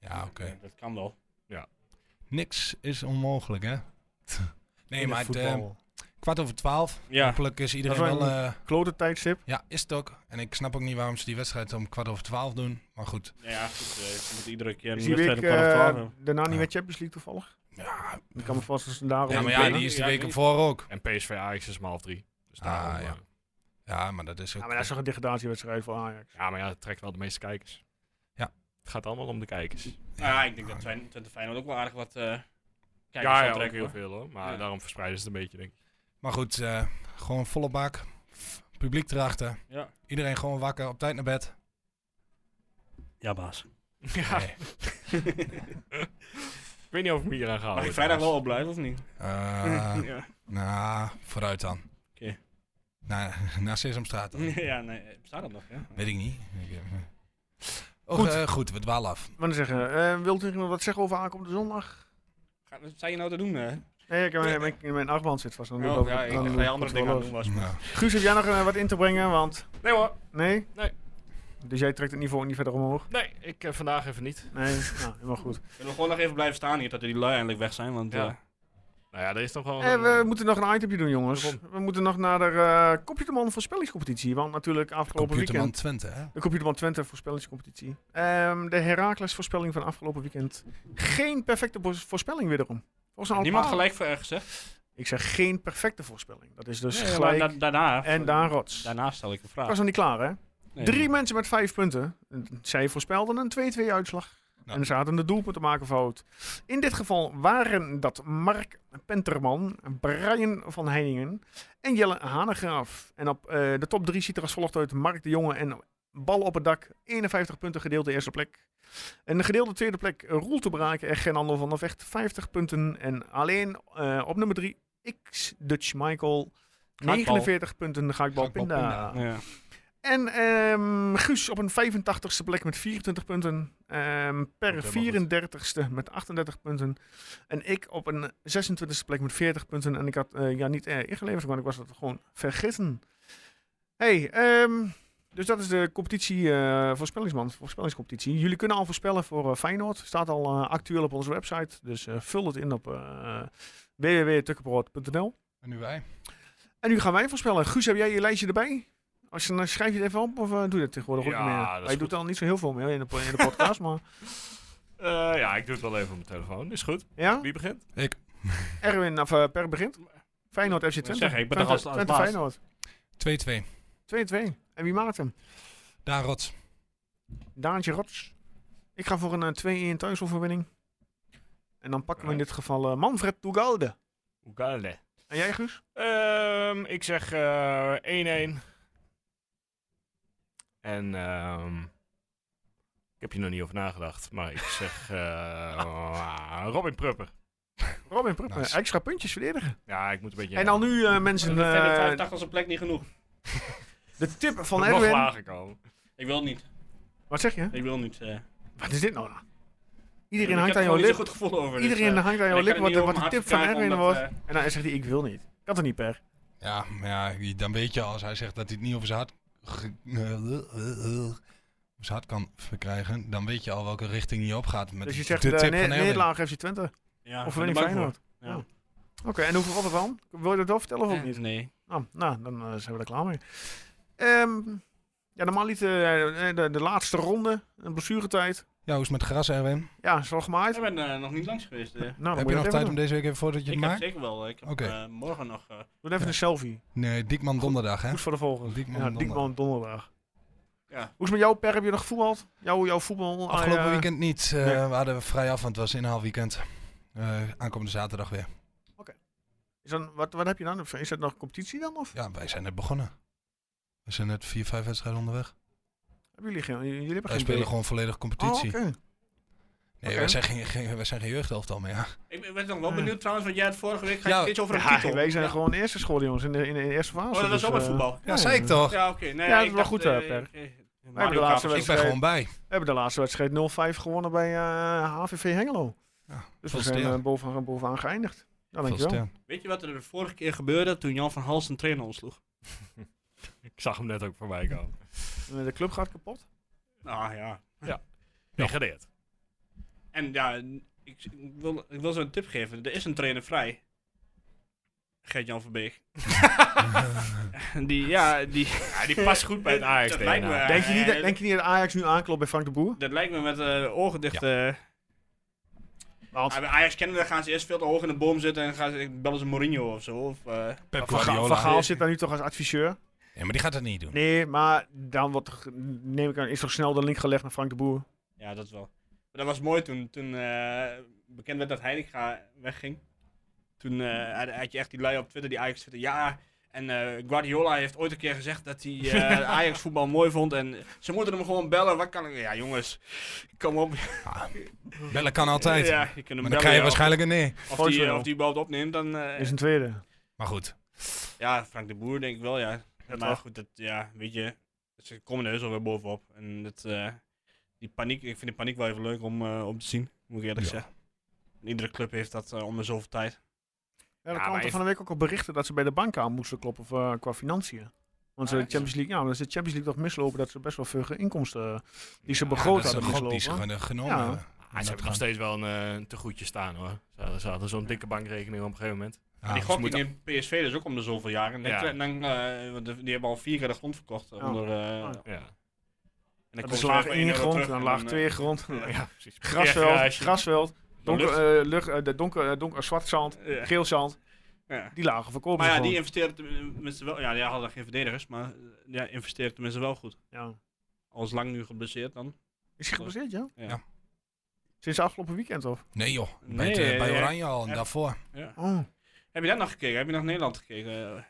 Ja, oké. Dat kan wel. Niks is onmogelijk, hè? nee, In maar het het, voetbal. eh, kwart over twaalf. Ja, Hopelijk is iedereen Dat is wel... wel eh, Klote tijdstip. ja, is het ook. En ik snap ook niet waarom ze die wedstrijd om kwart over twaalf doen. Maar goed, nou ja goed. eh, je moet iedere keer Is een die week wedstrijd op kwart over twaalf eh, hebben. daarna niet Ja. met Champions League toevallig? Ja, Ik kan me vast als een daarom... ja maar ik ja, weet die het. is de Ja, ik week weet ervoor ook. En PSV Ajax is maar half drie. Dus Ah, daarom, ja. eh, Ja, maar dat is ook... Ja, maar dat is toch een degradatiewedstrijd voor Ajax. ja, maar ja, het trekt wel de meeste kijkers. Ja. Het gaat allemaal om de kijkers. Nou ja, ik denk dat Twente Twente Feyenoord ook wel aardig wat eh kijkers ja, zal ja, ook trekken, heel hoor. veel hoor. Maar Ja. daarom verspreiden ze het een beetje, denk ik. Maar goed, eh, gewoon volle bak. Publiek erachter. Ja. Iedereen gewoon wakker, op tijd naar bed. ja, baas. Ja. Nee. Ik weet niet of ik me hier aan ga Mag houden, ik vrijdag wel trouwens. op blijven of niet? Eh, ja. nou, vooruit dan. Oké. Naar, naar Sesamstraat dan. ja, nee, eh, bestaat dat nog? Ja? Weet ik niet. Ik, eh, oh, Goed. goed. goed, we dwalen af. Maar dan zeggen, eh wilt u nog iemand wat zeggen over aankomende zondag? Ga- Wat zei je nou te doen? Hè? Nee, ik, mijn, mijn, mijn armband zit vast. Dan doe ik Oh, dat- ja, ik dan dacht doe dat ik je andere het dingen aan wel het doen los. was. Nou, Guus, heb jij nog eh, wat in te brengen? Want, Nee hoor. nee? Nee. Dus jij trekt het niveau niet verder omhoog? Nee, ik eh, vandaag even niet. Nee? nou, helemaal goed. Zullen we gewoon nog even blijven staan hier, dat die lui eindelijk weg zijn? Want, Ja. eh, Nou ja, er is toch Oh, wel. Eh, een- we moeten nog een itemje doen, jongens. Waarom? We moeten nog naar de eh Computerman voorspellingscompetitie. Want natuurlijk afgelopen computerman weekend... Twente, hè? De Computerman Twente voorspellingscompetitie. Ehm, de Heracles voorspelling van afgelopen weekend. Geen perfecte bos- voorspelling wederom. Volgens mij al eh, niemand een paar- gelijk voor ergens, hè? Ik zeg geen perfecte voorspelling. Dat is dus Nee, maar gelijk da- daarna, en Daan Rots. Ik daarna stel ik een vraag. Ah. was nog niet klaar, hè? Nee. Drie mensen met vijf punten. Zij voorspelden een 2-2 uitslag. En ze hadden de doelpunten maken fout. In dit geval waren dat Mark Penterman, Brian van Heiningen en Jelle Hanegraaf. En op eh, de top drie ziet er als volgt uit Mark de Jonge en Bal op het dak. 51 punten gedeelde eerste plek. En de gedeelde tweede plek eh, Roel te braken en Gernando van der Vecht. 50 punten. En alleen eh, op nummer drie X Dutch Michael. Gaakbal. 49 punten, Gaakbal Gaakbal Pinda. Ja. En ehm, Guus op een 85ste plek met 24 punten. Ehm, per Komt helemaal 34ste met 38 punten. En ik op een 26ste plek met 40 punten. En ik had eh, ja, niet eh, ingeleverd, want ik was dat gewoon vergeten. hey, ehm, dus dat is de competitie, eh voorspellingsman, voorspellingscompetitie. Jullie kunnen al voorspellen voor eh, Feyenoord. Staat al eh, actueel op onze website. Dus eh, vul het in op eh www.tukkenbrood.nl. En nu wij. En nu gaan wij voorspellen. Guus, heb jij je lijstje erbij? Als je, dan schrijf je het even op of eh, doe je dat tegenwoordig ook Ja, niet meer? dat is Hij goed. doet al niet zo heel veel meer in de, po- in de podcast, maar... Eh, ja, ik doe het wel even op mijn telefoon. Is goed. Ja? Wie begint? Ik. Erwin, of eh, Per begint. Feyenoord FC Twente. zeggen, ik ben Twente, toch als- als Twente baas. Feyenoord. 2-2. 2-2. En wie maakt hem? Daar rots. Daantje Rots. Ik ga voor een eh, 2-1 thuisoverwinning. En dan pakken we in dit geval eh, Manfred Toegalde. Oegale. En jij, Guus? Ehm, ik zeg eh, 1-1. en ehm, ik heb hier nog niet over nagedacht, maar ik zeg eh, Robin Prupper. Robin Pruppen. Nice. Extra puntjes verdedigen. Ja, ik moet een beetje. En dan nu, eh, mensen, Ik vind de eh, 85 zijn plek niet genoeg. de tip van van nog Erwin. lager komen. Ik wil niet. Wat zeg je? Ik wil niet. eh. Wat is dit nou? ik Iedereen heb hangt er aan jouw gewoon niet lip. zo'n goed gevoel over. dus, Iedereen eh, hangt aan en jouw ik lip kan wat, het niet wat de om hard tip van verklaren, Erwin omdat, wordt. En dan zegt hij, ik wil niet. Kan toch niet, Per? Ja, maar ja, dan weet je als hij zegt dat hij het niet over zijn hart... ge- zijn hart kan verkrijgen, dan weet je al welke richting je op gaat met Dus je zegt de eh tip ne- van Erwin. nederlaag FC Twente. Ja, of ben alleen er bang voor. Feyenoord. Ja. Oh. Oké, en hoeveel was het dan? Wil je dat wel vertellen of ook Eh, niet? Nee. Nou, nou, dan eh, zijn we er klaar mee. Ehm, ja, normaal liet eh, eh, de, de laatste ronde, een blessuretijd. Ja, hoe is het met gras, Erwin? Ja, is al gemaaid. Ik ben eh, nog niet langs geweest. eh. Nou, dan Heb moet je nog dat tijd even om doen. deze week even voordat Ik je het heb maakt? zeker wel. Ik heb Oké. eh, morgen nog... eh, Doe even Ja. een selfie. Nee, Diekman donderdag, hè? Goed voor de volgende. Diekman ja, donderdag. Diekman donderdag. Ja. Hoe is het met jou, Per? Heb je nog voetbald? Jouw, jouw voetbal? Afgelopen eh, weekend niet. eh, nee. We hadden vrij af, want het was inhaalweekend. Eh aankomende zaterdag weer. Is dan, wat, wat heb je dan? Is dat nog competitie dan? Of Ja, wij zijn net begonnen. We zijn net vier, vijf wedstrijden onderweg. hebben jullie geen? Jullie hebben Wij geen spelen beelden? gewoon volledig competitie. Oh, oké. Nee, Oké. wij zijn geen, geen, wij zijn geen jeugdelftal meer. Ja. Ik ben- ben nog wel benieuwd trouwens, want jij had vorige week Ja. ja, iets over een Ja, titel. wij zijn Ja. gewoon eerste school, jongens, in de, in de eerste fase. Oh, dat was dus, ook met eh, voetbal. ja, zei ik toch? Ja, oké. Nee, Ja, dat is ik wel dacht, goed, eh, eh, Per. ik- eh, hebben Mario de laatste Kart. ik ben wij- gewoon bij. We hebben de laatste wedstrijd 0-5 gewonnen bij eh, HVV Hengelo. Ja, dus we veel zijn sterren. eh, bovenaan, bovenaan geëindigd. Ja, Veel dankjewel. sterren. Weet je wat er de vorige keer gebeurde toen Jan van Hals een trainer ontsloeg? Ik zag hem net ook voorbij komen. Eh, De club gaat kapot. Ah, Nou ja. Gedegradeerd. En ja, ik, ik wil, ik wil ze een tip geven. Er is een trainer vrij. Gert-Jan van Beek. En die, ja, die... Ja, die past goed bij het Ajax. Dat lijkt me- denk, je niet, dat- eh, denk je niet dat Ajax nu aanklopt bij Frank de Boer? Dat lijkt me met eh, ogen dicht... eh, Want Ah, bij Ajax kennen, dan gaan ze eerst veel te hoog in de boom zitten en gaan ze, bellen ze Mourinho of zo. Of, eh, Pep Van Gaal- Guardiola. Van Gaal zit daar nu toch als adviseur? Ja, maar die gaat dat niet doen. Nee, maar dan wordt, er- neem ik aan, is toch snel de link gelegd naar Frank de Boer? ja, dat is wel. Maar dat was mooi toen, toen eh, bekend werd dat Heitinga wegging. Toen eh, had- had je echt die lui op Twitter, die Ajax Twitter, ja... En eh, Guardiola heeft ooit een keer gezegd dat hij eh, Ajax voetbal mooi vond. En ze moeten hem gewoon bellen. Wat kan ik... Ja, jongens. Kom op. Bellen kan altijd. Ja, je kunt hem maar bellen. dan krijg je ja. waarschijnlijk een nee. Of die, eh, Voicemail. of die überhaupt opneemt, dan... eh, Is een tweede. Maar goed. Ja, Frank de Boer denk ik wel, ja. maar wel. goed, dat, ja, weet je, ze komen er heus wel weer bovenop. En dat, eh, die paniek, ik vind die paniek wel even leuk om, eh, om te zien, moet ik eerlijk Ja. zeggen. Iedere club heeft dat eh, om de zoveel tijd. Ja, er Ja, kwamen maar toch van de week ook al berichten dat ze bij de bank aan moesten kloppen voor, eh, qua financiën. Want ze Ah, de Champions League, ja, maar als de Champions League toch mislopen, dat ze best wel veel inkomsten eh, die ze Ja, begroot dat is hadden de gok die ze mislopen. gen- genomen eh. Ja. hebben. Ah, ze hebben nog steeds wel een eh, te goedje staan hoor. Ze hadden, ze hadden zo'n dikke bankrekening op een gegeven moment. Ja, die ze gok die moeten- neemt PSV dus ook om de zoveel jaar. En dan, Ja. en dan, eh, want de- die hebben al vier keer de grond verkocht. eh, Ja. onder, eh, Ah. en dan Ja, Dat komen is ze laag weer voor één 1 euro grond, terug dan en laag eh, 2 grond, ja precies. grasveld, Parkeergarage. grasveld, donker, lucht. eh, lucht, eh, de donker, eh, donker zwart zand, Ja. geel zand, Ja. die lagen verkopen Maar ze ja, gewoon. die investeert tenminste wel. Ja, die hadden geen verdedigers, maar eh, ja, investeert tenminste wel goed. Ja. Al is lang nu geblesseerd dan. Is hij geblesseerd, ja? Ja. Ja. Sinds afgelopen weekend, of? Nee joh, bij, Nee, het, eh, bij eh, Oranje al en eh, daarvoor. Ja. Oh. Heb je dat nog gekeken? Heb je nog Nederland gekeken? Eh,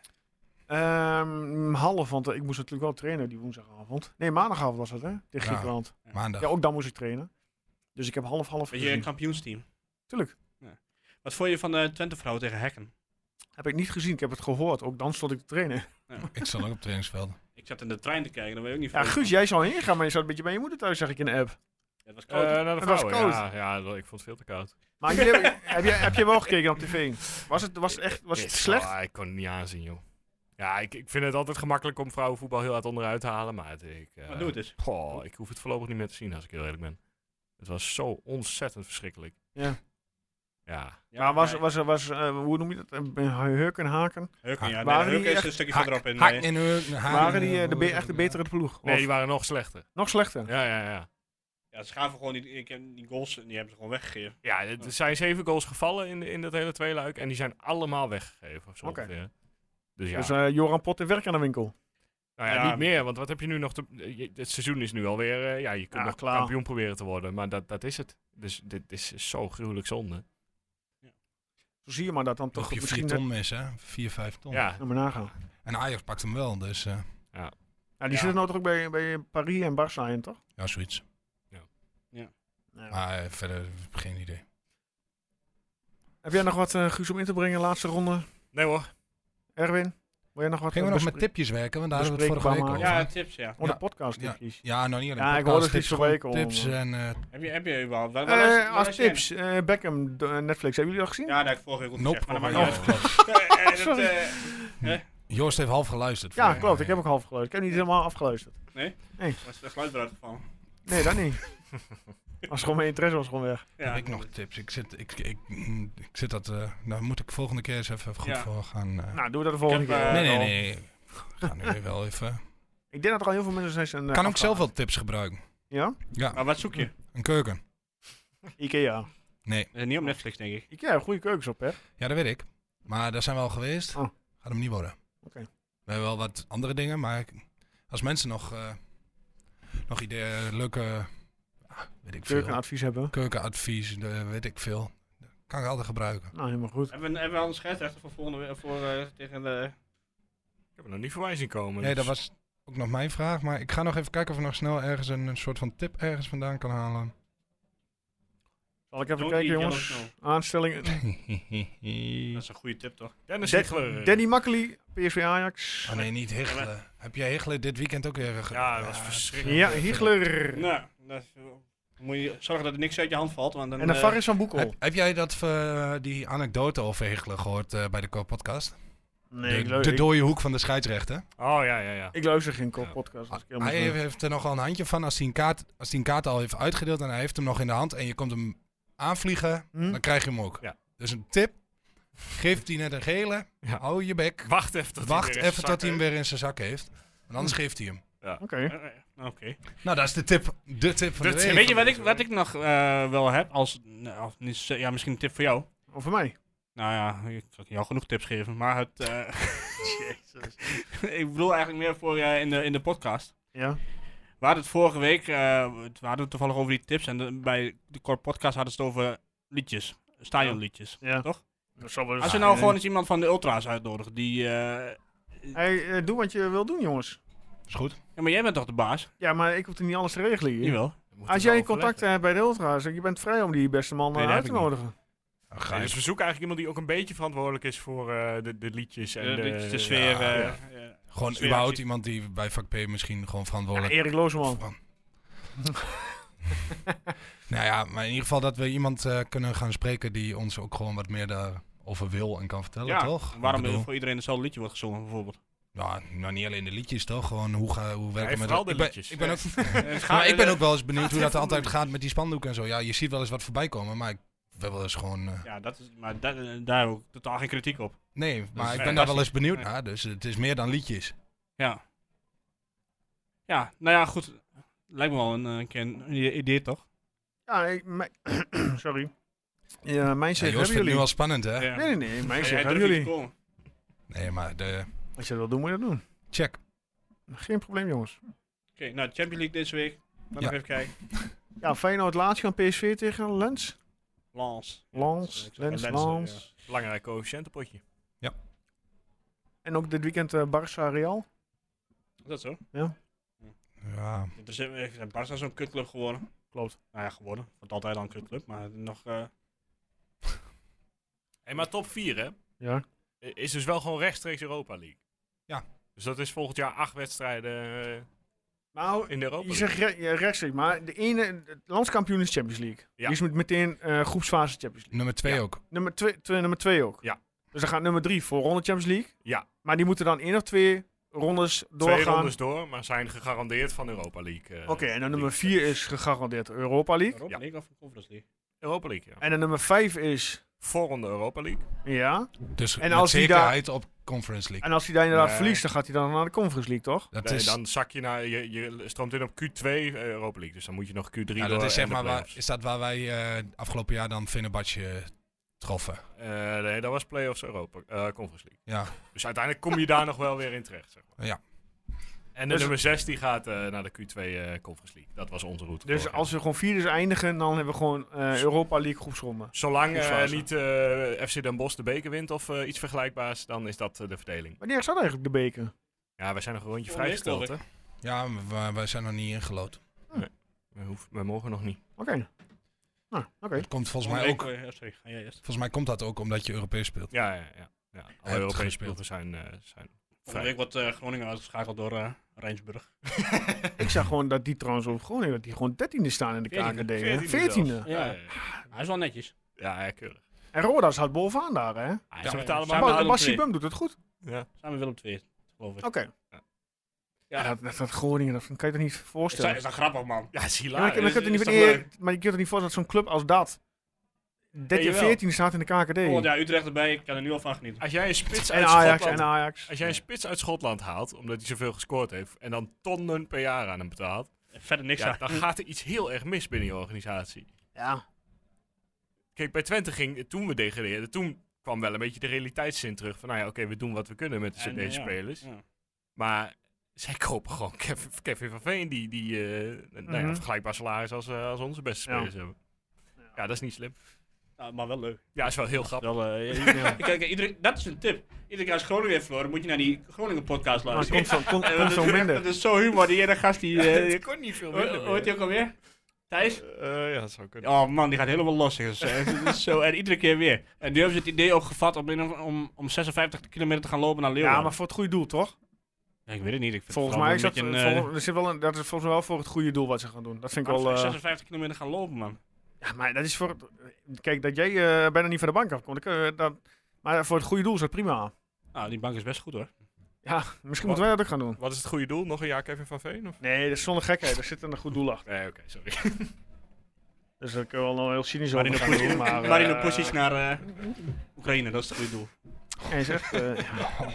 Ehm, half, want eh, ik moest natuurlijk wel trainen die woensdagavond. Nee, maandagavond was dat, hè? Ja. Tegen Griekenland. Ja, Maandag. ook dan moest ik trainen. Dus ik heb half-half Weet je, een gezien. kampioensteam. Tuurlijk. Wat vond je van de Twente-vrouw tegen Hekken? Heb ik niet gezien, ik heb het gehoord. Ook dan stond ik te trainen. Ik stond ook op trainingsvelden. Ik zat in de trein te kijken, daar weet ik ook niet Ja, van. Guus, jij zou heen gaan, maar je zat een beetje bij je moeder thuis, zeg ik in de app. Ja, het was Eh, naar koud. de Het was vrouwen. koud. Ja, ja, dat- ik vond het veel te koud. Maar jullie hebben- heb, je, heb je wel gekeken op tv? Was het, was het, echt, was het Ik- slecht? ah, ik kon het niet aanzien, joh. Ja, ik, ik vind het altijd gemakkelijk om vrouwenvoetbal heel hard onderuit te halen, maar het, ik, eh, maar doe het eens. goh, ik hoef het voorlopig niet meer te zien als ik heel eerlijk ben. Het was zo ontzettend verschrikkelijk. Ja. Ja, Ja, Maar was, was, was, eh, hoe noem je dat? Eh, Hurk en Haken. Heuken, ja, Waren nee, die Heuken is echt- een stukje Hak- verderop in. hak eh, in hun- haar Waren in die hun- eh, de be- echt de betere ploeg? Of nee, die waren nog slechter. nog slechter? Ja, ja, ja. Ja, ze gaven gewoon die, ik heb die goals, die hebben ze gewoon weggegeven. Ja, er er zijn zeven goals gevallen in, in dat hele tweeluik. En die zijn allemaal weggegeven. Zo Oké. ongeveer. Dus ja, Dus eh, Joran Pot en werk aan de winkel. nou ja, ja. niet meer. Want wat heb je nu nog te... je- Het seizoen is nu alweer... eh, ja, je kunt Ja, nog klaar. kampioen proberen te worden. Maar dat, dat is het. Dus dit is zo gruwelijk zonde. Zo zie je maar dat dan Toch toch je vier misschien... ton mis, hè? Vier, vijf ton. Ja, Ja, maar nagaan. En Ajax pakt hem wel, dus eh, Ja, die Ja. zitten nou toch ook bij, bij Paris en Barça in, toch? ja, zoiets. Ja. Maar eh, verder geen idee. Heb jij nog wat, eh Guus, om in te brengen? Laatste ronde. nee hoor. Erwin, wil jij nog wat eh, Gingen we nog met bespreken? tipjes werken, want daar hadden we het vorige Bespreekbaar week over. Ja, Ja, tips, ja. Oh, de Ja. podcast tipjes. nou niet alleen Ja, ik podcast, hoorde het tips, iets van gewoon week al, Tips maar- en eh, Heb je, heb je überhaupt... Waar, Eh, waar was- waar als was jij in? tips, eh, Beckham, d- eh, Netflix. Hebben jullie dat gezien? Ja, dat heb ik vorige week ook Nope. gezegd, maar dat Oh, maakt niet klopt. uit. Eh, eh, dat, eh, Joost heeft half geluisterd. eh, Ja, vorige klopt. week. Ik heb ook half geluisterd. Ik heb niet helemaal afgeluisterd. was de geluid eruit gevallen. Nee, dat niet. was gewoon mijn interesse was gewoon weg. Heb ik nog tips? Ik zit, ik, ik, mm, ik zit dat. eh nou, moet ik volgende keer eens even goed Ja. voor gaan. eh. Nou, doen we dat de volgende heb, eh, keer. nee, nee, nee. We gaan nu weer wel even. Ik denk dat er al heel veel mensen zijn. zijn eh, kan ook zelf afgehaakt. wel tips gebruiken. Ja? Ja, Maar wat zoek je? een keuken. Ikea. Nee, Eh, niet op Netflix, denk ik. Ikea heeft goede keukens op, hè? ja, dat weet ik. Maar daar zijn we al geweest. Oh. Gaat hem niet worden. Oké. We hebben wel wat andere dingen, maar ik- als mensen nog, eh, nog ideeën, leuke, ah, weet ik veel, Keukenadvies hebben. keukenadvies, eh, weet ik veel, kan ik altijd gebruiken. Nou, helemaal goed. Hebben we, hebben we al een scheidsrechter voor volgende week- voor, eh, tegen de... Ik heb er nog niet voorbij zien komen. Nee, dat dus- was ook nog mijn vraag, maar ik ga nog even kijken of ik nog snel ergens een, een soort van tip ergens vandaan kan halen. Zal ik even Don't kijken, eat jongens? yellow Aanstellingen. Dat is een goede tip, toch? Dennis Da- Ziegler. Danny Makkely, PSV Ajax. oh nee, niet Hichelen. Heb jij Hichelen dit weekend ook weer ge- Ja, dat was verschrikkelijk. Ja, Hiegler. Nou, dat is- moet je zorgen dat er niks uit je hand valt, want dan... En de eh, VAR is van Boekel. Heb, heb jij dat, eh, die anekdote over Hichelen gehoord eh, bij de Koop-podcast? Nee, ik, de, lu- de ik- dode hoek van de scheidsrechter. Oh ja, ja, ja. ik luister geen kop podcast. als ik helemaal Ah, Hij zo- heeft er nogal een handje van als hij, een kaart, als hij een kaart al heeft uitgedeeld en hij heeft hem nog in de hand en je komt hem aanvliegen, Hm? dan krijg je hem ook. Ja. Dus een tip, geeft hij net een gele, Ja. hou je bek, Wacht even tot wacht hij weer in even zijn tot hij zak hem weer in zijn zak heeft, want anders geeft hij hem. Oké. eh, eh, Oké. Nou, dat is de tip, de tip van De de tip. week. Weet je wat ik, wat ik nog eh, wel heb als... Nou, of niet, zo- ja, misschien een tip voor jou. Of voor mij. Nou ja, ik kan jou genoeg tips geven, maar het... eh, ik bedoel eigenlijk meer voor eh, in, de, in de podcast. Ja. We hadden het vorige week, eh, we hadden het toevallig over die tips en de- bij de Kort Podcast hadden ze het over liedjes, stadionliedjes. ja. Toch? Dat zal wel eens- Als we nou Ja. gewoon eens iemand van de Ultra's uitnodigen, die... eh, Hey, eh, doe wat je wil doen, jongens. Is goed. ja, maar jij bent toch de baas? Ja, maar ik hoef er niet alles te regelen hier. Jawel. Moet Als het jij wel contacten hebt bij de Ultra's, je bent vrij om die beste man eh, Nee, dat uit te heb ik niet. nodigen. Dan ga Nee, je- dus we zoeken eigenlijk iemand die ook een beetje verantwoordelijk is voor eh, de, de liedjes en De, de, de, sfeer. ja, eh, ja. eh, Gewoon dus sfeer- überhaupt iemand die bij vak P misschien gewoon Ja, verantwoordelijk Erik Looseman. Van. nou ja, maar in ieder geval dat we iemand eh, kunnen gaan spreken die ons ook gewoon wat meer daarover wil en kan vertellen, ja, toch? Ik Waarom bedoel, voor iedereen hetzelfde liedje wordt gezongen, bijvoorbeeld? ja, nou, niet alleen de liedjes, toch? Gewoon hoe, ga, hoe werken we met... vooral de ik ben, liedjes. Ik ben, ook, Het gaat- maar ik ben eh, ook wel eens benieuwd hoe dat altijd gaat met die spandoeken en zo. Ja, je ziet wel eens wat voorbij komen, maar ik ben wel eens gewoon... eh, Ja, dat is, maar dat, eh, daar heb ik totaal geen kritiek op. nee, maar ik ben daar fantastisch. wel eens benieuwd Ja. naar, dus het is meer dan liedjes. Ja. Ja, nou ja, goed. Lijkt me wel een, eh, een keer een idee- idee, toch? Ja, ik, mijn- sorry. Ja, mijn Ja, zegt, Joost hebben vindt het nu jullie? al spannend, hè? Ja. Nee, nee, nee. Mijn Hij zegt, durft hebben niet te jullie? komen. Nee, maar de... Als je dat wil doen, moet je dat doen. Check. Geen probleem, jongens. Oké, nou, Champions League deze week. Laten we Ja. even kijken. Ja, Feyenoord laatst gaan PSV tegen Lens. Lans. Lens, Ik zeg Lens, Lens, eh, Lens. Belangrijk coëfficiëntenpotje. En ook dit weekend eh, Barça Real. Is dat zo? Ja, Er is eh, Barca zo'n kutclub geworden. Klopt. Nou ja, geworden. Want altijd al een kutclub, maar nog... eh, Hey, maar top 4, hè? Ja. I- Is dus wel gewoon rechtstreeks Europa League. Ja. Dus dat is volgend jaar acht wedstrijden eh, Nou, in de Europa je League. zegt re- ja, rechtstreeks, maar de ene, het landskampioen is Champions League. Ja. Die is met meteen eh groepsfase Champions League. nummer twee Ja. ook. Nummer twee, twee- nummer twee ook. Ja. Dus dan gaat nummer drie voor ronde Champions League. Ja. Maar die moeten dan één of twee rondes doorgaan. Twee rondes door, maar zijn gegarandeerd van Europa League. eh, Oké, en dan nummer League. vier is gegarandeerd Europa League. Europa Ja. League of Conference League? Europa League, ja. En dan nummer vijf is, Voorronde Europa League. ja. Dus En en als als die zekerheid op Conference League. En als hij daar inderdaad Nee. verliest, dan gaat hij dan naar de Conference League, toch? Dus Dat Nee, is, Dan zak je naar, je, je stroomt in op Q2 Europa League. Dus dan moet je nog Q3 ja, door dat is zeg en de maar waar, play-offs. is dat waar wij eh, afgelopen jaar dan Fenerbahce eh, troffen. Eh, nee, dat was Playoffs Europa, eh, Conference League. Ja, Dus uiteindelijk kom je daar nog wel weer in terecht, zeg maar. Ja. En de Dus- nummer 6 die gaat eh, naar de Q2 eh, Conference League. Dat was onze route. Dus vorig als we gewoon vierdes eindigen, dan hebben we gewoon eh, Europa League groepsronde. jaar. Zolang eh, Groepsfase. niet eh, FC Den Bosch de beker wint of eh, iets vergelijkbaars, dan is dat eh, de verdeling. Wanneer staat eigenlijk de beker? Ja, wij zijn nog een rondje Volgende week, vrijgesteld, hè? geloof ja maar wij- wij zijn nog niet ingelood. We, hoeven, we mogen nog niet. Oké. Nou, oké. Dat komt volgens mij ook. Eh, sorry, ga jij eerst. Volgens mij komt dat ook omdat je Europees speelt. Ja, ja, ja. ja. Alle hebt Europese gespeeld. ploegen zijn... eh, zijn Vorige vrij. week wordt eh, Groningen uitgeschakeld door eh Rijnsburg. Ik zag gewoon dat die trouwens ook gewoon dat die gewoon dertiende staan in de Veertiende. KKD. hè? Veertiende zelfs. Veertiende. Ja. Ja, ja, ja. Hij is wel netjes. Ja, ja, keurig. En Roda staat bovenaan daar, hè? Ah, Ja. ze betalen Ja, maar... maar- Bas, hadden Bas twee. Bum doet het goed. Ja. Samen Willem II, geloof ik. Oké. Ja. Ja, dat, dat, dat Groningen, dat kan je toch niet Is dat, voorstellen? is dat grappig, man? Ja, is Ja, maar, hilarisch. je- maar je kunt Is- er niet is van- toch nee, leuk? maar je kunt er niet voorstellen dat zo'n club als dat 13, Jawel. 14 staat in de KKD. Volgend jaar Utrecht erbij, ik kan er nu al van genieten. Als jij een spits En uit Ajax, en Schotland... Ajax. Als jij een spits uit Schotland haalt, omdat hij zoveel gescoord heeft, en dan tonnen per jaar aan hem betaalt, Verder niks ja, aan. dan gaat er iets heel erg mis binnen je organisatie. Ja. Kijk, bij Twente ging, toen we degradeerden, toen kwam wel een beetje de realiteitszin terug. Van, nou ja, oké, we doen wat we kunnen met En, deze ja, spelers. ja. Maar zij kopen gewoon Kevin, Kevin van Veen, die, die eh, nou Mhm. ja, vergelijkbaar salaris als, eh, als onze beste Ja. spelers hebben. Ja, dat is niet slim. Nou, maar wel leuk. Ja, is wel heel grappig. Wel, eh, ja, ja. Kijk, iedereen, dat is een tip. Iedere keer als Groningen heeft verloren, moet je naar die Groningen podcast Maar het luisteren. komt zo, komt, Eh, komt want zo dat is echt- minder. Dat is zo humor, die ene gast die... eh, Het kon niet veel hoe- minder hoe heet meer. die ook alweer? Thijs? Eh, ja, dat zou kunnen. Oh man, die gaat helemaal los. jongens. Eh, het is zo, en iedere keer weer. En nu hebben ze het idee ook gevat om, in- om, om 56 kilometer te gaan lopen naar Ja, Leeuwarden. maar voor het goede doel, toch? Ja, ik weet het niet. Ik vind Volgens het mij is vooral dat, wel eh, een beetje vol- er zit wel een, dat is volgens mij wel voor het goede doel wat ze gaan doen. Dat vind ik wel... een, eh, eh, 56 kilometer gaan lopen, man. ja, maar dat is voor... het- Kijk, dat jij eh, bijna niet van de bank afkomt. ik, eh, dat, maar voor het goede doel is dat prima. Nou, die bank is best goed hoor. Ja, misschien moeten wij dat ook gaan doen. Wat is het goede doel? Nog een jaar Kevin van Veen? Of? Nee, dat is zonder gekheid. Er zit een goed doel achter. Nee, oké, sorry. Dus dat kunnen we wel heel cynisch Waarin over de gaan doen. posities, Maar, waarin de eh, posities naar eh, Oekraïne, dat is het goede doel. Hij zegt, eh,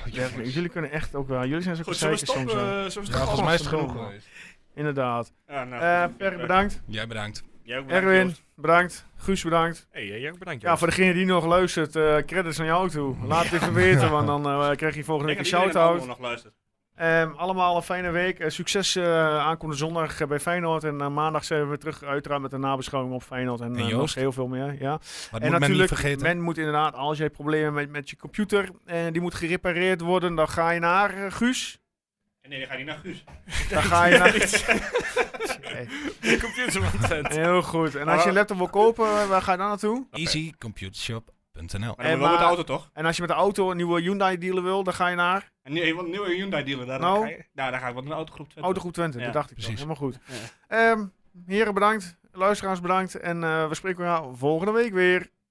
ja, jullie kunnen echt ook wel. Jullie zijn zo Goed, zullen we zeker soms. stoppen? hè. eh, Zullen we Ja, stoppen? volgens mij is het verdomme. genoeg geweest. Inderdaad. Ja, nou, Eh goed. Perk, bedankt. Jij bedankt. Jij ook bedankt, Erwin, Joost. bedankt. Guus, bedankt. Hey, eh, jij ook bedankt. Ja, voor degene die nog luistert, eh, credits aan jou toe. Laat het even weten, want dan eh, krijg je volgende Ik week een denk dat shout-out. iedereen allemaal nog luistert. Ehm, allemaal een fijne week. Eh, succes eh, aankomende zondag eh, bij Feyenoord. En eh, maandag zijn we weer terug, uiteraard, met een nabeschouwing op Feyenoord. En, En eh, nog Joost? heel veel meer. Ja. En Maar moet men niet natuurlijk, vergeten. men moet inderdaad, als jij problemen met, met je computer en die moet gerepareerd worden, dan ga je naar eh, Guus. En nee, dan ga je naar Guus. Dan ga je naar. de computer van Twente. Heel goed. En als je een laptop wil kopen, eh, waar ga je dan naartoe? Easycomputershop.nl Maar dan En wel met maar- de auto toch? En als je met de auto een nieuwe Hyundai dealen wil, dan ga je naar En nu even een nieuwe Hyundai dealer. Daar, Nou. ga, je, nou, daar ga ik wat een autogroep zetten. Autogroep Twente. Ja, dat dacht ik precies. Precies. Helemaal goed. Ja. Ehm, heren, bedankt. Luisteraars, bedankt. En eh, we spreken elkaar volgende week weer.